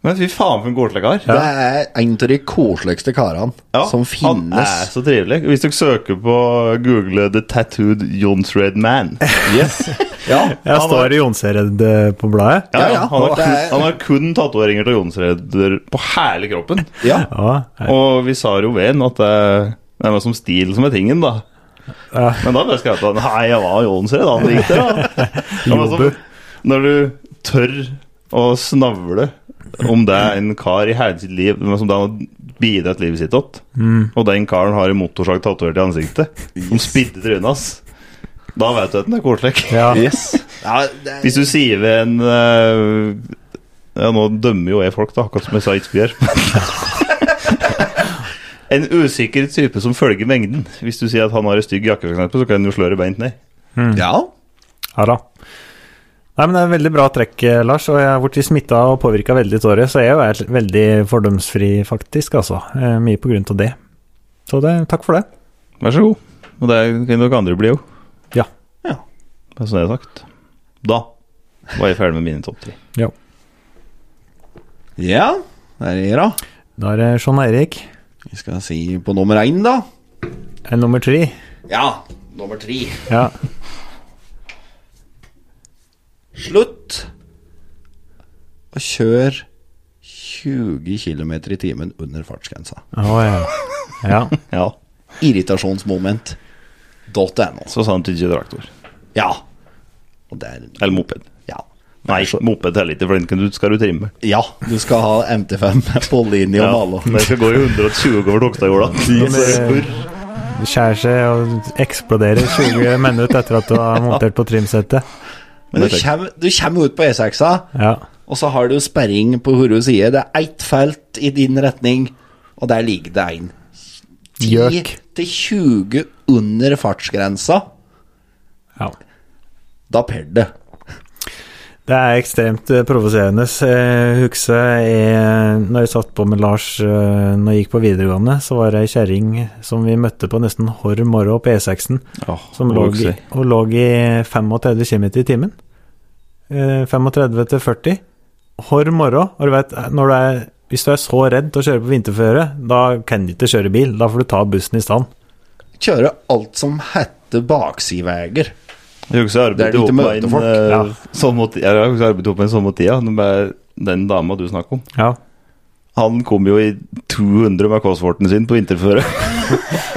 S1: Men fy faen for en koselig kar.
S5: Det er en av de koseligste karene
S1: Ja,
S5: som
S1: Han er
S5: finnes.
S1: så trivelig. Hvis dere søker på Google 'The Tattooed Jonsred Man'
S5: Yes. ja.
S3: Jeg står i Jonsered eh, på bladet.
S1: ja,
S5: Ja, ja,
S1: Han har
S5: og det
S1: kun,
S5: er-
S1: han har kun tatoveringer av Jonsreder på hele kroppen.
S5: ja.
S3: Ja.
S1: Og vi sa jo ved en at det, det er noe som stil som er tingen, da.
S3: Ja.
S1: Men da ble jeg skrevet at Nei, jeg var Jonsred, han likte det. da. Men altså,
S3: Jobbe.
S1: Når du tør å snavle om det er en kar i hele sitt liv men som da har bidratt livet sitt åt,
S3: Mm.
S1: og den karen har en motorsag tatovert i ansiktet, som spidder trynet hans, da vet du at den er koselig.
S3: Ja.
S5: Yes. Ja, det er,
S1: Hvis du sier ved en eh, Ja, nå dømmer jo jeg folk, da, akkurat som jeg sa Itzbjørg. en usikker type som følger mengden. Hvis du sier at han har en stygg jakke, for eksempel, så kan han jo slå deg beint ned.
S5: ja.
S3: Ja da. Nei, men Det er veldig bra trekk, eh, Lars. Og jeg har blitt smitta og påvirka veldig av året, så jeg er jo helt- veldig fordomsfri, faktisk. altså. Eh, Mye på grunn av det. Så det, takk for det.
S1: Vær så god. Og det kan nok andre bli òg.
S3: Ja.
S5: Ja.
S1: Bare så det er sånn sagt. Da var jeg ferdig med mine topp tre.
S5: ja. Der er det, da.
S3: Da er det John Eirik.
S5: Vi skal si på nummer én, da.
S3: Eh, Nummer tre.
S5: Ja. Nummer tre.
S3: Ja.
S5: Slutt å kjøre 20 km i timen under fartsgrensa.
S3: Å, ja. ja.
S1: Ja.
S5: Irritasjonsmoment.no.
S1: Så sa han til ikke traktor.
S5: altså. Ja. Og det er
S1: Eller moped.
S5: Ja.
S1: Nei, moped teller ikke, for den kan du, skal du trimme.
S5: Ja, du skal ha MT5 på linje om alle.
S1: Den skal gå i 120 over Tokstadjorda.
S3: Det skjærer seg og eksploderer 20 minutter etter at du har montert på trimsettet.
S5: Men du kommer, du kommer ut på E6-a,
S3: Ja.
S5: og så har du sperring på hver side. Det er ett felt i din retning, og der ligger det en. 10
S3: Gjøk.
S5: til 20 under fartsgrensa.
S3: ja.
S5: Da per det.
S3: Det er ekstremt eh, provoserende. Jeg husker jeg, når jeg satt på med Lars eh, når jeg gikk på videregående, så var det ei kjerring som vi møtte på nesten hver morgen på E6-en, som lå i, og lå i 35 km i timen. Eh, 35 til 40 hver morgen. Og du vet, når du er, hvis du er så redd til å kjøre på vinterføre, da kan du ikke kjøre bil. Da får du ta bussen i stand.
S5: Kjøre alt som heter baksideveier.
S1: Jeg husker jeg
S5: Det er
S1: arbeidet
S5: dit
S1: opp
S5: du
S1: med
S5: møter
S1: en
S5: folk.
S1: eh,
S3: Ja.
S1: sånn mot- Jeg har også arbeidet opp med en sånn mot tida. men bare Den dama du snakker om,
S3: Ja.
S1: han kom jo i 200 med Cosworten sin på vinterføre.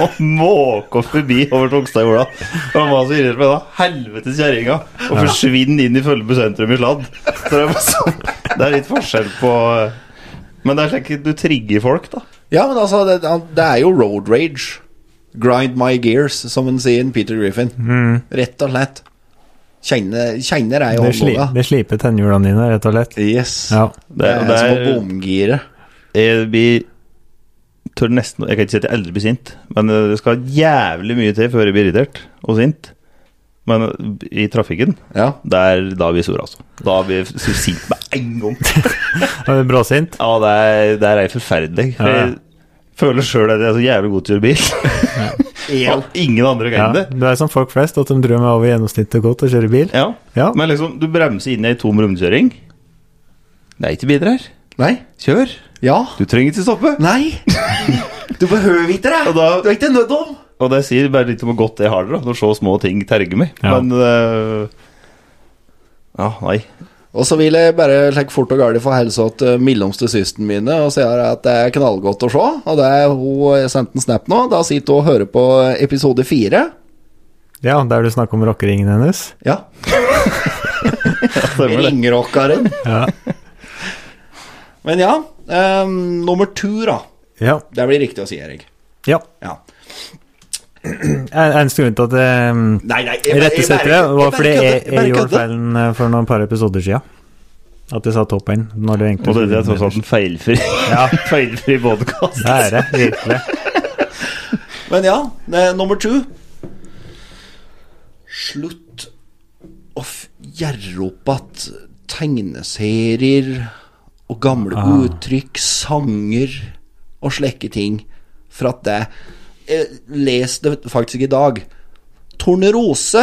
S1: og måke oss forbi over Togstadjorda. Og Han var så irritert på den helvetes kjerringa og forsvinne inn i Føllebu sentrum i sladd. Så det, er bare sånn, det er litt forskjell på eh, Men det er slik du trigger folk, da.
S5: Ja, men altså, det, det er jo road rage. Grind my gears, som en sier Peter Griffin. Rett og slett. Kjenner, kjenner jeg i
S3: Det, sli,
S5: håndboga.
S3: det sliper tennhjulene dine, rett og slett.
S5: Yes.
S3: Ja.
S5: Det er,
S1: det
S5: som å
S1: er-
S5: bomgire.
S1: Jeg blir tør nesten Jeg kan ikke si at jeg aldri blir sint, men eh, det skal jævlig mye til før jeg blir irritert og sint. Men eh, i trafikken,
S5: Ja.
S1: der, da blir jeg sur, altså. Da blir jeg så sint med en gang.
S3: Er du bråsint?
S1: Ja, det er, det er forferdelig. For
S3: Ja.
S1: jeg føler sjøl at jeg er så jævlig god til å kjøre bil. Og ingen andre
S3: Ja.
S1: kan det.
S3: Du er som folk flest, at de drømmer over gjennomsnittet godt og kjører bil.
S1: Ja.
S3: Ja.
S1: Men liksom, du bremser inn i ei tom rundkjøring. Det er ikke biler her.
S5: Nei.
S1: Kjør.
S5: Ja.
S1: Du trenger ikke stoppe.
S5: Nei. Du behøver ikke det.
S1: Og da,
S5: Du er ikke nødt om.
S1: og det sier bare litt om hvor godt jeg har det, da, når så små ting terger meg.
S3: Ja.
S1: Men eh, Ja, nei.
S5: Og så vil jeg bare like, fort og galt få hilse til eh, mellomste søsteren mine og si at det er knallgodt å se. Og det er hun jeg sendte en snap nå. Da sitter hun og hører på episode fire.
S3: Ja, der du snakker om rockeringen hennes.
S5: Ja.
S1: Stemmer det.
S5: Ringrockeren.
S3: Ja.
S5: Men ja, eh, nummer to, da.
S3: Ja.
S5: Det blir riktig å si, Erik.
S3: ja.
S5: Ja.
S3: En- Eneste grunn til at um,
S5: Nei, nei, jeg,
S3: Rett og slett det var fordi jeg, jeg gjorde
S5: kødder.
S3: feilen eh, for noen par episoder siden. At jeg sa toppen når du egentlig
S1: Og dette er tross alt en feilfri, feilfri podkast.
S3: Det er det, virkelig.
S5: Men ja, det er nummer to. Slutt å f- gjerre opp at tegneserier og gamle uttrykk, sanger og slike ting For at det Jeg leste det faktisk i dag. Tornerose.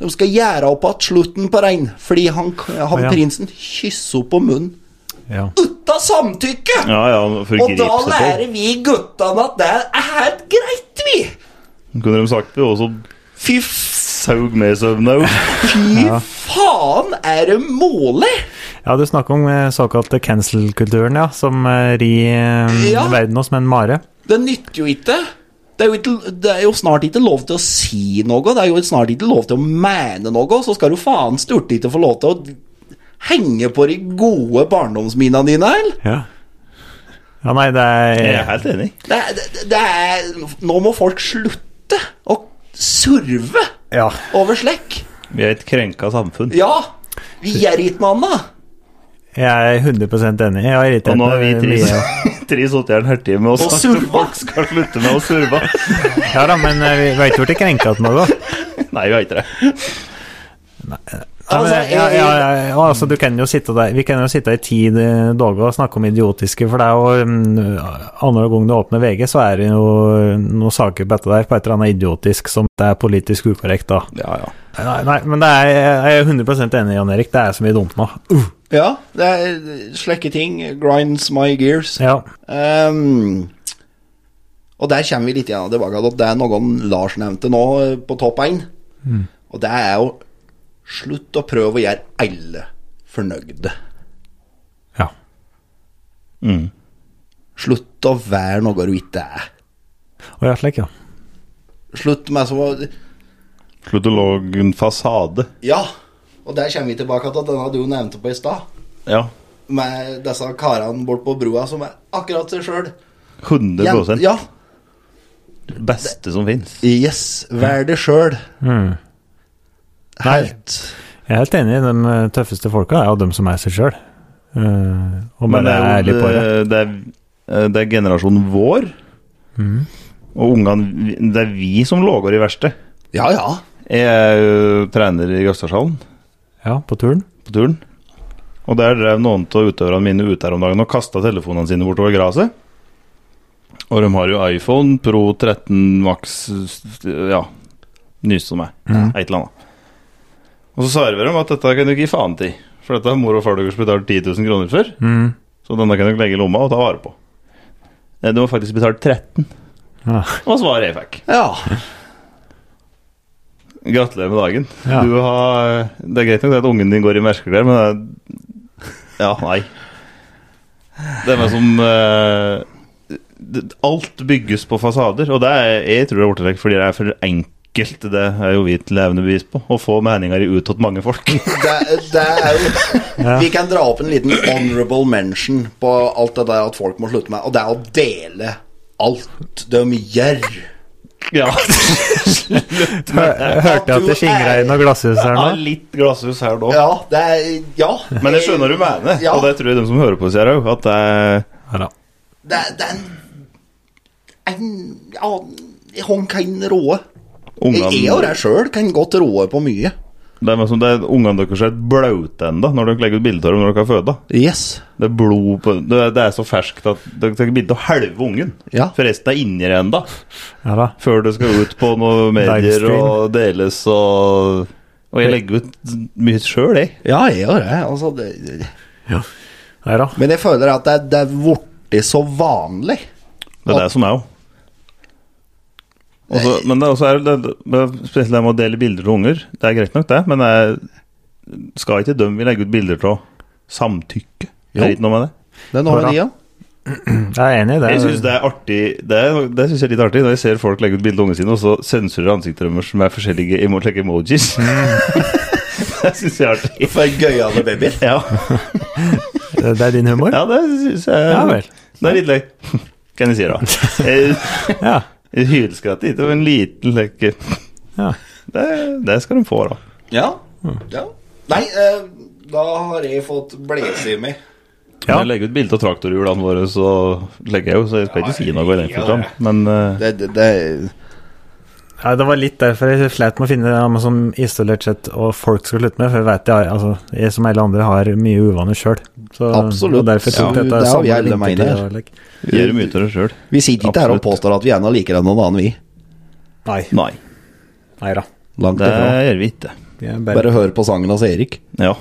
S5: De skal gjøre opp at slutten på rein, fordi han, han
S3: ja.
S5: prinsen kysser henne på munnen
S3: Ja.
S5: uten samtykke!
S1: Ja, ja, for å
S5: Og da
S1: gripe seg
S5: lærer vi guttene at det er helt greit, vi!
S1: på. Kunne de sagt det, og så
S5: Fy f-
S1: saug med seg nå.
S5: fy faen, er det målig?
S3: ja, du snakker om eh, såkalte cancel-kulturen, ja. Som eh, rir eh,
S5: Ja.
S3: verden oss med en mare.
S5: Det nytter jo ikke. Det er jo, ikke, det er jo snart ikke lov til å si noe, det er jo snart ikke lov til å mene noe, så skal du faen styrte ikke få lov til å henge på de gode barndomsminnene dine, eller?
S3: Ja. ja, nei, det
S1: Jeg er
S3: er
S1: helt enig.
S5: Det, er- det, det er Nå må folk slutte å surve
S3: Ja.
S5: over slekk.
S1: Vi er et krenka samfunn.
S5: Ja! Vi gjør ikke noe annet.
S3: Jeg er 100 enig. Jeg har irritert
S1: Og nå har vi
S3: meg
S1: tre,
S3: mye.
S1: tre sittet her en halvtime med
S5: Og
S1: oss.
S5: surva.
S1: Folk skal slutte med å surve.
S3: Ja da, men eh, vi veit jo ikke krenka til noe.
S1: Nei, vi har ikke det.
S3: Ja, men, ja, ja, ja, og altså, du kan jo sitte der, vi kan jo sitte i ti eh, dager og snakke om idiotiske, for det er jo mm, Andre gang du åpner VG, så er det jo eh, noen saker på dette der på et eller annet idiotisk som det er politisk ukorrekt, da.
S1: Ja, ja.
S3: Nei, nei men det er, jeg er 100 enig, Jan Erik. Det er så mye dumt nå. Uh,
S5: Ja, det er slekke ting. Grinds my gears.
S3: ja.
S5: Ehm, og der kommer vi litt igjen tilbake til at det er noen Lars nevnte nå eh, på topp 1. Og det er jo Slutt å prøve å gjøre alle fornøyde.
S3: ja. Mm.
S5: Slutt å være noe du ikke er.
S3: Og jeg slik, ja.
S5: Slutt med så
S1: Slutt å lage en fasade.
S5: Ja. Og der kommer vi tilbake til denne du nevnte på i stad.
S1: Ja.
S5: Med disse karene bort på brua som er akkurat seg sjøl.
S1: 100
S5: Ja,
S1: Beste som fins.
S5: Yes, vær det sjøl. Helt.
S3: Mm. Jeg er helt enig. De eh, tøffeste folka er jo dem som er seg sjøl. og
S1: Men
S3: bare
S1: det
S3: er
S1: er,
S3: ærlig
S1: jo,
S3: på det.
S1: det, det, er, det er generasjonen vår.
S3: Mm.
S1: Og ungene vi- Det er vi som lågår i verste.
S5: Ja, ja.
S1: Jeg er jo trener i Gaustadhallen
S3: Ja, på turen.
S1: på turen. Og der drev noen av utøverne mine ut her om dagen og kasta telefonene sine bortover gresset. Og de har jo iPhone Pro 13 Max Ja, nyeste som er.
S3: Mm.
S1: Et eller annet. Og så serverer de at dette kan du ikke gi faen til. For dette har mor og far deres betalt 10 000 kroner for.
S3: mm.
S1: Så denne kan dere legge i lomma og ta vare på. Eh, De har faktisk betalt 13
S3: Ja.
S1: Det var svaret jeg fikk.
S5: Ja,
S1: Gratulerer med dagen.
S3: Ja.
S1: Du har, det er greit nok det at ungen din går i merkeklær, men det er, Ja, nei. Det er meg som eh, det- Alt bygges på fasader, og det er, jeg tror det er vortelekk fordi det er for enkelt. Det er jo vi et levende bevis på. Å få meninger utad mange folk.
S5: det, det er jo Vi kan dra opp en liten honorable mention på alt det der at folk må slutte med. Og det er å dele alt de gjør.
S1: ja.
S3: Hørte jeg at det skingra i noe glasshus her
S1: ja,
S3: nå?
S1: litt glasshus her nå.
S5: Ja, det er Ja.
S1: Men jeg skjønner du mener,
S5: Ja.
S1: og det tror jeg de som hører på, sier òg. At det er
S3: Ja da.
S5: Det, er- det er en, en Ja, han kan råe. Jeg jeg og
S1: ungene
S5: deg sjøl kan godt råe på mye.
S1: Det er mer som det er ungene deres er blaute ennå når dere legger ut bilder av dem når dere har føda.
S5: Yes.
S1: Det er blod på Det er, det er så ferskt at dere tar bilde av halve ungen.
S5: Ja.
S1: Forresten er inni det ennå.
S3: Ja da.
S1: Før det skal ut på noen medier
S3: Livestream.
S1: og deles og Og jeg legger ut mye sjøl, jeg.
S5: Ja, jeg og det. Altså, det, det.
S3: Ja da.
S5: Men jeg føler at det, det er blitt så vanlig.
S1: Det er det som er jo. Og så- Men det er også er det, det- det, spesielt det med å dele bilder til unger. Det er greit nok, det, men det er, skal ikke dem vi legger ut bilder av samtykke? Det er
S5: Jo.
S1: ikke noe med det.
S5: Det er noe
S3: Hør da.
S5: med det, ja.
S3: Jeg er enig i det.
S1: Jeg syns det er artig Det, er, det synes jeg er litt artig når jeg ser folk legge ut bilder av ungene sine, og så sensurer ansiktet deres med forskjellige emo like emojis.
S3: Mm.
S1: det syns jeg er artig.
S5: For gøyale babyer.
S1: Ja,
S3: Det er din humor?
S1: ja det syns jeg
S3: Ja vel.
S1: Det er litt leit. Kan jeg si da. Jeg-
S3: Ja.
S1: Jeg hylskratt litt, og en liten lekke.
S3: Ja.
S1: Det, det skal de få, da.
S5: Ja. ja. Nei, eh, da har jeg fått blese i meg.
S1: Når Jeg legger ut bilde av traktorhjulene våre, så legger jeg jo, så jeg skal ikke si noe i den forstand. Men eh,
S5: Det, det, det
S3: Ja, det var litt derfor jeg sleit med å finne noe som isolert sett og folk skal slutte med, for jeg vet jeg, har- altså, jeg som alle andre har mye uvaner sjøl.
S5: Absolutt.
S3: Og derfor tok
S5: Ja,
S3: dette
S5: det har
S3: samme
S5: vi alle
S3: vintertid
S5: mener.
S3: og lek.
S1: gjør mye av det sjøl.
S5: Vi sitter ikke her og
S1: Absolutt.
S5: påstår at vi ennå liker enn noen annen, vi.
S3: Nei.
S1: Nei,
S3: Nei da.
S5: Langt
S1: det
S5: ifra.
S1: gjør vi ikke.
S3: Vi er bare
S5: Bare hør på sangen hans Erik.
S1: Ja.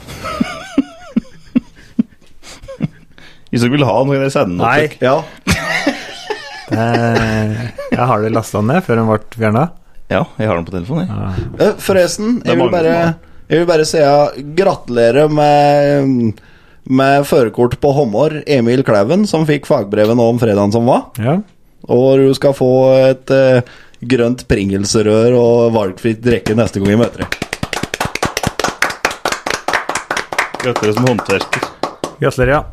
S1: Hvis dere vil ha noe, kan dere sende noe.
S3: Nei.
S5: Ja.
S3: Eh, jeg har det lasta ned før den ble fjerna.
S1: Ja, jeg har den på telefonen, jeg.
S5: Eh, Forresten,
S1: er
S5: jeg vil
S1: mange
S5: bare
S1: som har.
S5: Jeg vil bare si ja, gratulerer med med førerkort på Håmår, Emil Klæven, som fikk fagbrevet nå om fredagen som var.
S3: Ja.
S5: Og du skal få et eh, grønt pringelsrør og valgfritt drikke neste gang vi møter deg.
S1: Gratulerer som håndverker.
S3: Gratulerer, ja.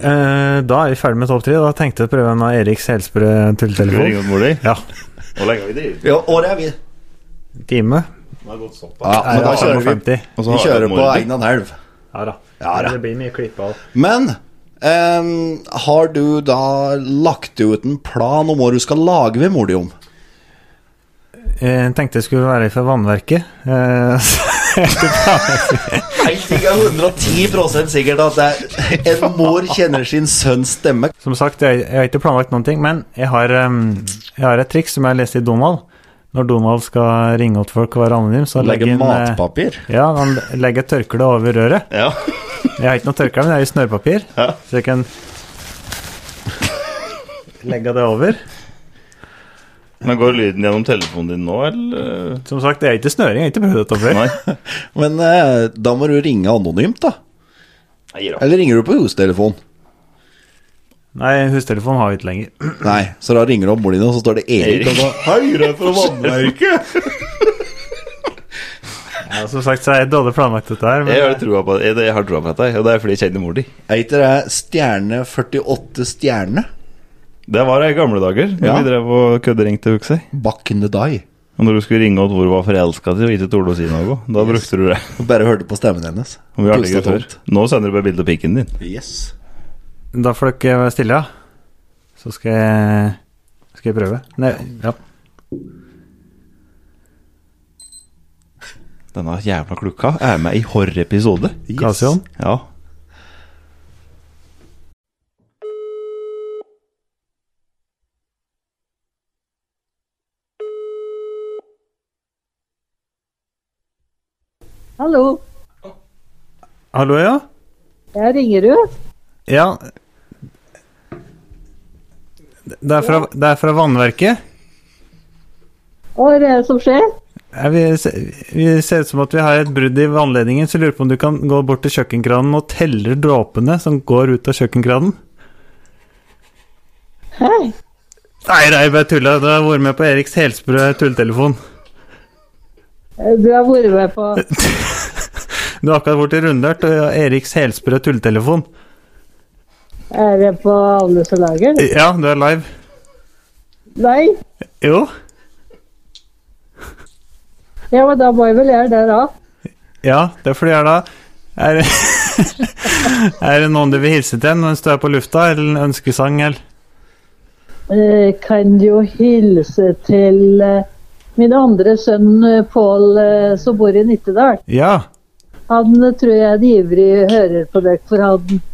S3: Eh, da er vi ferdig med topp tre. Da tenkte jeg å prøve en av Eriks helsprø
S1: Skal vi
S3: tulletelefon.
S1: ringe opp mor di?
S3: Ja.
S1: Hvor lenge har vi drevet?
S5: Ja, året er vi.
S3: Time.
S1: Den har gått såpass.
S5: Ja,
S3: Er
S5: men da kjører vi.
S3: 50.
S1: Og så
S5: Vi
S1: har jeg
S5: kjører
S1: mor
S5: på
S1: di.
S5: Egnan elv.
S3: Ja da.
S5: Ja da.
S3: Det blir mye klipp av.
S5: Men ehm, har du da lagt ut en plan om hva du skal lage ved mor di om?
S3: Jeg Eh, tenkte jeg skulle være fra vannverket. Eh,
S5: Én ting er 110 sikkert at det er en mor kjenner sin sønns stemme.
S3: som sagt, jeg, jeg har ikke planlagt noen ting, men jeg har, em, jeg har et triks som jeg har lest i Donald. Når Donald skal ringe opp folk og være anonym, så legger
S5: Legge
S3: han eh,
S5: matpapir.
S3: Ja, han legger et tørkle over røret.
S1: Ja.
S3: Jeg har ikke noe tørkle, men jeg har jo snørrpapir.
S1: Ja.
S3: Så jeg kan legge det over.
S1: Men går lyden gjennom telefonen din nå, eller?
S3: Som sagt, det er ikke snøring. Jeg har ikke prøvd dette før.
S1: Nei.
S5: Men eh, da må du ringe anonymt, da.
S1: Nei da.
S5: Eller ringer du på hustelefon?
S3: Nei, hustelefon har vi ikke lenger.
S5: Nei, så da ringer du opp mor di, og så står det Erik. Og så, Hei, det er fra vannverket.
S3: Ja, som sagt, så har jeg dårlig planlagt dette her.
S1: Jeg
S3: Men eh,
S1: har trua på, jeg, jeg har trua på dette, og det er fordi jeg kjenner mor di.
S5: Er ikke det stjerne 48 stjerne?
S1: Det var det i gamle dager, når
S5: Ja.
S1: vi drev og kødderingte Uxi.
S5: Back in the die.
S1: Og når du skulle ringe og hvor du var forelska til og ikke torde å si noe, da brukte du det.
S5: Og bare hørte på stemmen hennes.
S1: Og vi har det
S5: Pustet
S1: ikke før.
S5: tomt.
S1: Nå sender du bare bilde av pikken din.
S5: Yes.
S3: da får dere være stille, ja. Så skal jeg, skal jeg prøve. Nei, ja.
S1: Denne jævla klukka er med i horr episode.
S3: Kasion.
S1: Ja.
S8: Hallo,
S3: Hallo, ja?
S8: jeg er Ringerud.
S3: Ja. Det er fra, det er fra vannverket.
S8: Hva er det som skjer?
S3: Er vi, se- vi ser ut som at vi har et brudd i vannledningen, så jeg lurer på om du kan gå bort til kjøkkenkranen og telle dråpene som går ut av kjøkkenkranen?
S8: Hei.
S3: Nei, nei, bare tulla. Du har vært med på Eriks helsprø tulletelefon.
S8: Eh, Du har vært med på
S3: Du har akkurat vært i rundørt. og Eriks helsprø tulletelefon.
S8: Er det på alle som lager?
S3: Ja, du er live.
S8: Nei.
S3: Jo.
S8: Ja, men da må jeg vel gjøre det, da.
S3: Ja, det er fordi jeg er da er, er det noen du vil hilse til mens du er på lufta, eller en ønskesang, eller?
S8: Eh, Kan jo hilse til eh, min andre sønn eh, Pål, eh, som bor i Nittedal.
S3: Ja.
S8: Han eh, tror jeg er en ivrig hører på dere, for han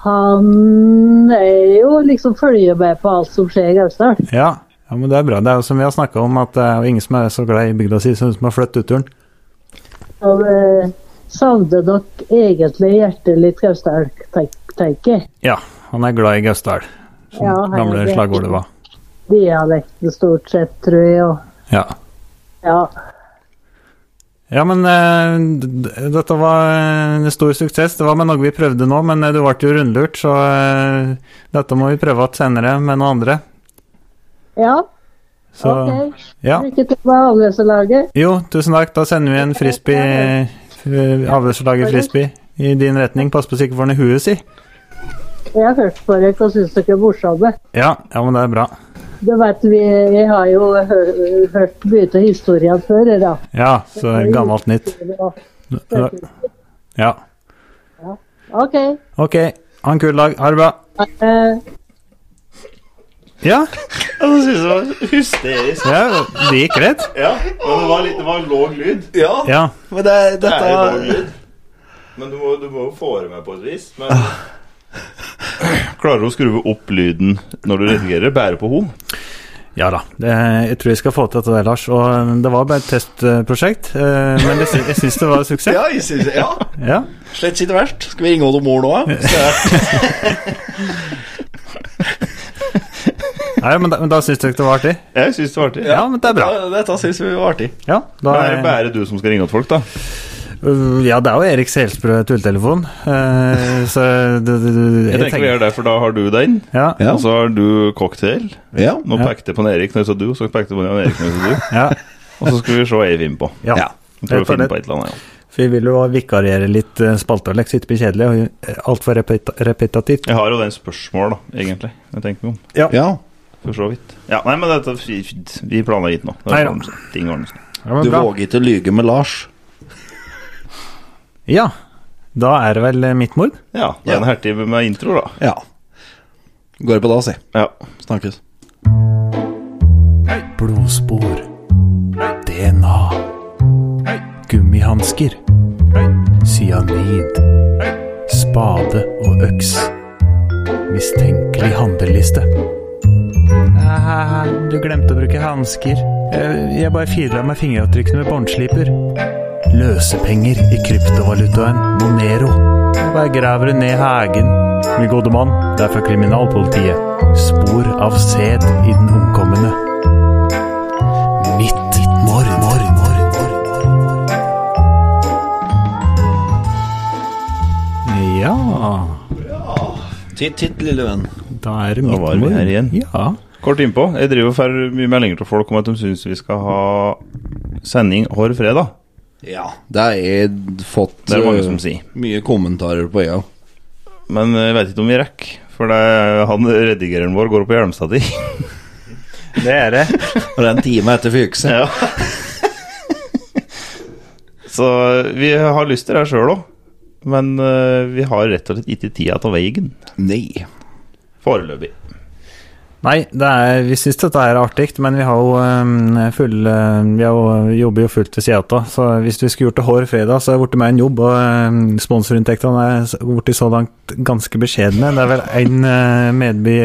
S8: han er jo liksom følger med på alt som skjer i Gausdal.
S3: Ja, ja men det er bra. Det er jo som vi har snakka om, at det er jo ingen som er så glad i bygda si som hun som har flyttet uturen.
S8: Han eh, savner nok egentlig hjertet litt Gausdal, tenk- tenker jeg.
S3: Ja, han er glad i Gausdal, som
S8: Ja, han er
S3: gamle
S8: det.
S3: slagordet var.
S8: Dialekten stort sett, tror jeg. Og,
S3: Ja.
S8: ja.
S3: Ja, men eh, d- d- dette var eh, en stor suksess. Det var med noe vi prøvde nå, men eh, du ble jo rundlurt, så eh, dette må vi prøve igjen senere med noen andre.
S8: ja,
S3: Så
S8: ok.
S3: ja.
S8: Lykke til med avløserlaget.
S3: Jo, tusen takk. Da sender vi en frisbee eh, f- Avløserlaget frisbee i din retning. Pass på så ikke får den i huet, si.
S8: Jeg har hørt på dere og syns dere er morsomme.
S3: Ja, ja, men det er bra.
S8: Du vet, vi, jeg har jo hø hørt mye av historien før. jeg, Da.
S3: Ja, så gammelt nytt. Ja.
S8: OK.
S3: Ok, ha en kul dag. Ha det bra.
S8: eh,
S3: Ja,
S1: Jeg synes det var hysterisk.
S3: ja det gikk rett.
S1: Ja, men det var, litt, det var låg lyd.
S5: Ja,
S3: Ja.
S5: men det,
S1: Det er
S5: dette
S1: låg lyd. Men du må, du må jo få det med på et vis. Men Klarer du å skru opp lyden når du redigerer? Bære på horn?
S3: Ja da. Det, jeg tror jeg skal få til dette, der, Lars. Og eh, det var bare et testprosjekt, eh, men jeg, sy- jeg syns det var en suksess.
S5: Ja, jeg synes, ja,
S3: Ja.
S5: slett ikke verst. Skal vi ringe Odd og mor nå? ja?
S3: Nei, men da, men da syns dere det var artig?
S1: Jeg syns det var artig.
S3: Ja, men det er bra.
S5: Ja, Dette syns vi var artig.
S3: Ja, da
S1: Men er det bare du som skal ringe til folk, da?
S3: Uh, Ja, det er jo Erik Selsbrø tulletelefon. eh, Så det, det, det,
S1: Jeg tenker vi gjør det, for da har du den,
S3: ja,
S5: Ja. altså,
S1: og så har du cocktail.
S5: Ja.
S1: Nå
S3: Ja.
S1: pekte jeg på en Erik når jeg sa du, så pekte jeg på en Erik når jeg sa du.
S3: ja,
S1: Og så skal vi se hva jeg finner på.
S3: ja.
S5: Ja.
S1: Jeg tror
S3: Helt
S1: jeg finner
S3: rett.
S1: på et eller annet, ja.
S3: For vi vil jo vikariere litt eh, spalte, Alex. Ikke bli kjedelig og eh, altfor repet repetitivt.
S1: Jeg har jo den spørsmål, da, egentlig. Jeg tenker meg om.
S5: ja.
S1: For så vidt. Ja, nei, men dette Vi, vi planla hit nå. Det
S3: Nei
S1: er
S3: da.
S1: sånn ting ordner seg.
S3: Ja, men
S5: Du
S3: bra.
S5: våger ikke å lyge med Lars.
S3: Ja, da er det vel eh, mitt mord.
S1: Ja, det er en
S5: Ja.
S1: hertime med intro, da.
S5: Ja. Går det på da, si.
S1: Ja.
S5: Snakkes.
S6: Blodspor. DNA. Gummihansker. Cyanid. Spade og øks. Mistenkelig handleliste.
S3: Du glemte å bruke hansker. Eh, Jeg bare fila med fingeravtrykkene med båndsliper. Løsepenger i kryptovalutaen Monero. Jeg bare graver det ned i hagen. Min gode mann, det er fra kriminalpolitiet. Spor av sæd i den omkomne. Mitt mord. mord, mord, mord. Ja
S5: Titt, titt, lille venn.
S3: Da er det
S1: Da
S3: mitt
S1: var vi
S3: mord.
S1: her igjen.
S3: Ja.
S1: Kort innpå. Jeg driver og får mye meldinger til folk om at de syns vi skal ha sending hver fredag.
S5: Ja, det har jeg fått
S1: Det er mange
S5: eh,
S1: som sier.
S5: mye kommentarer på, jeg òg.
S1: Men jeg veit ikke om vi rekker. For det er, han redigereren vår går opp i Hjelmstadtid.
S3: Det er det.
S5: Og det er en time etter fyrkse.
S1: Ja. Så vi har lyst til det sjøl òg. Men eh, vi har rett og slett ikke tida til veien.
S5: Nei.
S1: Foreløpig.
S3: Nei, det er, vi syns dette er artig, men vi har jo øhm, full øhm, Vi har jo, jobber jo fullt ved sida av, så hvis vi skulle gjort det hver fredag, så er det blitt meg en jobb, og øhm, sponsorinntektene er s- blitt så langt ganske beskjedne. Det er vel én øh, Medby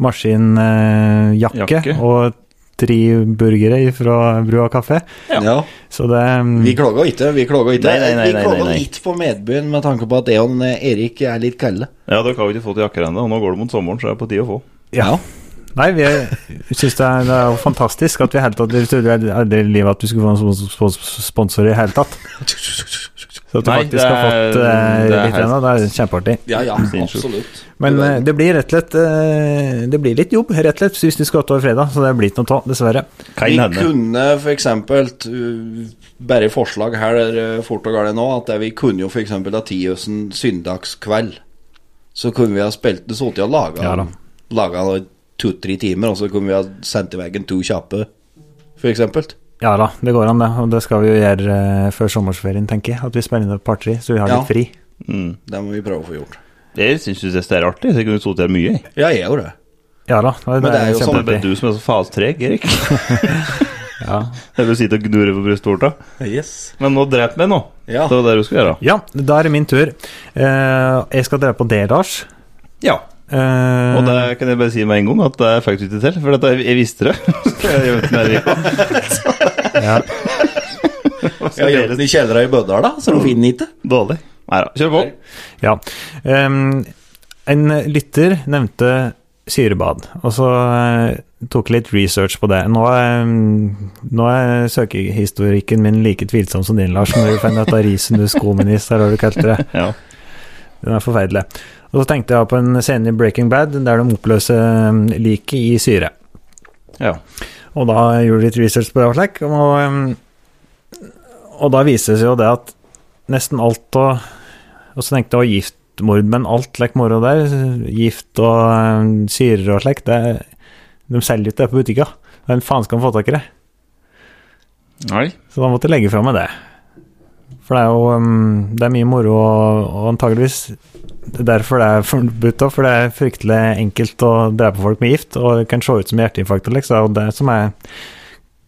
S3: maskinjakke
S1: Jakke.
S3: og tre burgere fra Brua kafé,
S5: Ja.
S3: så det ehm, øhm,
S5: Vi klaga ikke, vi klaga ikke.
S1: Nei, nei, nei,
S5: vi
S1: nei,
S5: klaga
S1: nei.
S5: litt på Medbyen med tanke på at jeg og eh, Erik er litt kalde.
S1: Ja, dere har jo ikke fått jakker ennå, og nå går det mot sommeren, så det er på tide å få.
S3: Ja. Nei, vi er- vi syns det, er- det er jo fantastisk at vi i hele tatt Vi trodde jo aldri i livet at vi skulle få en spons- spons- sponsor i hele tatt. Så at du
S1: Nei,
S3: faktisk
S1: det
S3: har fått
S1: er-
S3: eh,
S1: det er
S3: litt ennå, det er kjempeartig.
S5: Ja, ja,
S1: Sinnssykt.
S5: absolutt.
S3: Men
S5: Det
S3: eh,
S5: der-
S3: det blir rett og slett eh, Det blir litt jobb, rett og slett, hvis de skal utover fredag. Så det blir ikke noe av, dessverre.
S1: Kan
S5: Vi
S1: hende.
S5: kunne for eksempel uh, Bare forslag her uh, fort og galt nå, at det vi kunne jo for eksempel ha Tiøsen søndagskveld. Så kunne vi ha spilt det sånn og laga
S3: Ja da.
S5: laga det i to-tre timer, og så kunne vi ha sendt i veggen to kjappe, for eksempel.
S3: Ja da, det går an, det. Og det skal vi jo gjøre eh, før sommerferien, tenker jeg. At vi spiller inn et par-tre, så vi har
S5: Ja.
S3: litt fri.
S1: Mm.
S5: Det må vi prøve å få gjort.
S1: Jeg syns jo det er artig, så jeg kunne sittet her mye. jeg.
S5: Ja, jeg gjør det.
S3: Ja da. Det,
S5: Men det er jo
S1: Det
S5: sånn
S1: er
S3: kjempeartig.
S1: bare du som er så faen treg, Erik.
S3: Ja.
S1: Jeg vil sitte og gnure på brystvorta.
S5: Yes.
S1: Men nå drep meg nå.
S5: Ja.
S1: Det var det du skulle gjøre.
S3: ja, da er det min tur. Eh, jeg skal dra på det, Lars.
S1: Ja.
S3: Eh,
S1: Og det kan jeg bare si med en gang at det fikk du ikke til, for at jeg, jeg visste det. Jeg gjorde ikke det her.
S3: ja.
S5: Jeg har gjemt den i kjelleren i Bøddal, da,
S1: Mm.
S5: så de finner den ikke.
S1: Dårlig. Nei da, kjør på.
S3: Ja. Ehm, en lytter nevnte syrebad, og så eh, tok jeg litt research på det. Nå, er, mm, nå er søkehistorikken min like tvilsom som din, Lars, når du finner dette Risenus communis, eller hva du kalte det.
S1: Ja.
S3: Den er forferdelig. Og så tenkte jeg på en scene i Breaking Bad der de oppløser mm, liket i syre.
S1: Ja.
S3: Og da gjorde de litt research på det og slik, og, um, og da viser det seg jo det at nesten alt og, og så tenkte jeg å giftmord, men alt like moro der, gift og um, syrer og slik, det, de selger ikke det på butikka. Hvem faen skal de få tak i det?
S1: Nei.
S3: Så da måtte jeg legge fra meg det. For det er jo um, det er mye moro, og, og antageligvis det er derfor det er forbudt, da, for det er fryktelig enkelt å drepe folk med gift, og det kan se ut som hjerteinfarkt. Liksom. og Det er det som er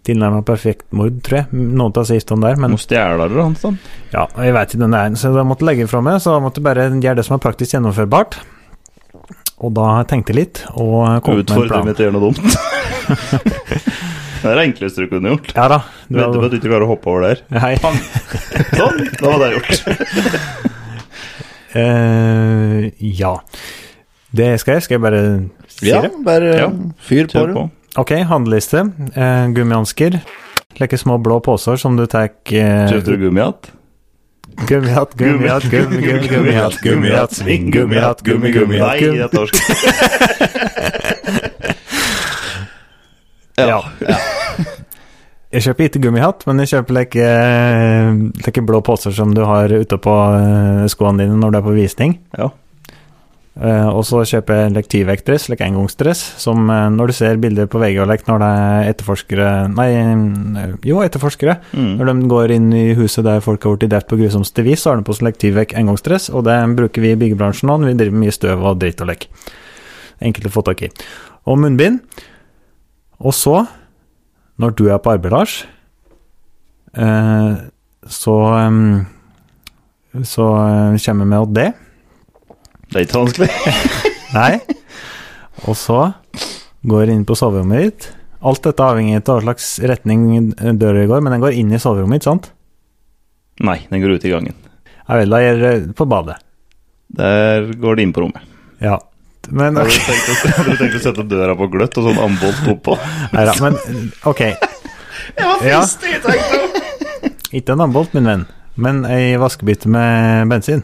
S3: tilnærmet perfekt mord, tror jeg. Noen tar seg giftene der, men
S1: Må stjele det, han sånn.
S3: ja, og jeg vet ikke den der, så da måtte jeg legge den fra meg, så da måtte jeg bare gjøre det som er praktisk gjennomførbart. Og da tenkte jeg litt, og kom opp med en
S1: Utfordre
S3: plan.
S1: meg til å gjøre noe dumt. det er det enkleste du kunne gjort.
S3: Ja da. Du,
S1: Venter på at du ikke klarer å hoppe over der.
S3: hei.
S1: Sånn, da var det gjort.
S3: Eh, ja. Det skal jeg. Skal jeg bare si
S5: Ja,
S3: det?
S5: bare
S1: Ja.
S5: fyr på
S1: Kjør
S5: det.
S1: på.
S3: Ok, handleliste. Eh, gummihansker. Lekke små blå poser som du tar eh,
S1: Kjøpte du gummihatt?
S3: Gummihatt, gummihatt, gummi, gummi, gummihatt, gummihatt, sving, gummihatt, gummi, gummihatt,
S1: Nei,
S3: gummi.
S1: dette var sk-
S3: Ja. Jeg kjøper ikke gummihatt, men jeg kjøper lekke, lekke blå poser som du har ute på eh, skoene dine når du er på visning.
S1: Ja.
S3: Eh, og så kjøper jeg lekk tyvektdress, lekk engangsdress, som eh, når du ser bilder på VG og lekk når det er etterforskere Nei, eh, jo, etterforskere.
S1: Mm.
S3: Når de går inn i huset der folk har blitt drept på grusomste vis, så har de på seg lektivvekk engangsdress, og det bruker vi i byggebransjen nå. Vi driver mye støv og dritt og lekk. Enkelt å få tak i. Og munnbind. Og så, når du er på arbeid, Lars, eh, så eh, Så eh, kommer vi med oss det.
S1: Det er ikke vanskelig.
S3: Nei. Og så går inn på soverommet ditt. Alt dette avhenger av hva slags retning døra går, men den går inn i soverommet, ikke sant?
S1: Nei, den går ut i gangen.
S3: Jeg vel, da gjør det på badet.
S1: Der går det inn på rommet.
S3: Ja. Men,
S1: Hadde du tenkt å, hadde du tenkt å sette døra på gløtt og sånn ambolt oppå?
S3: Nei da, men ok. Ja, Ikke en ambolt, min venn, men ei vaskebytte med bensin.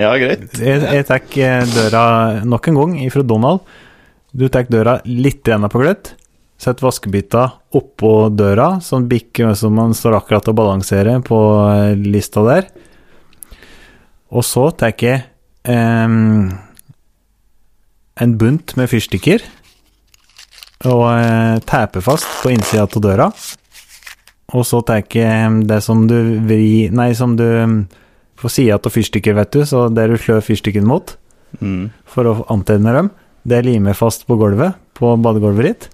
S1: Ja, greit.
S3: Jeg, jeg tar eh, døra nok en gang ifra Donald. Du tar døra litt igjen på gløtt. Sett vaskebytta oppå døra, sånn bikker som man står akkurat og balanserer på eh, lista der. Og så tar jeg eh, em, en bunt med fyrstikker og eh, teiper fast på innsida av døra. Og så tar jeg eh, det som du vri... Nei, som du eh, em, på sida av fyrstikker, vet du, så der du slår fyrstikken mot
S1: Mm.
S3: for å antenne dem, det limer jeg fast på gulvet, på badegulvet ditt.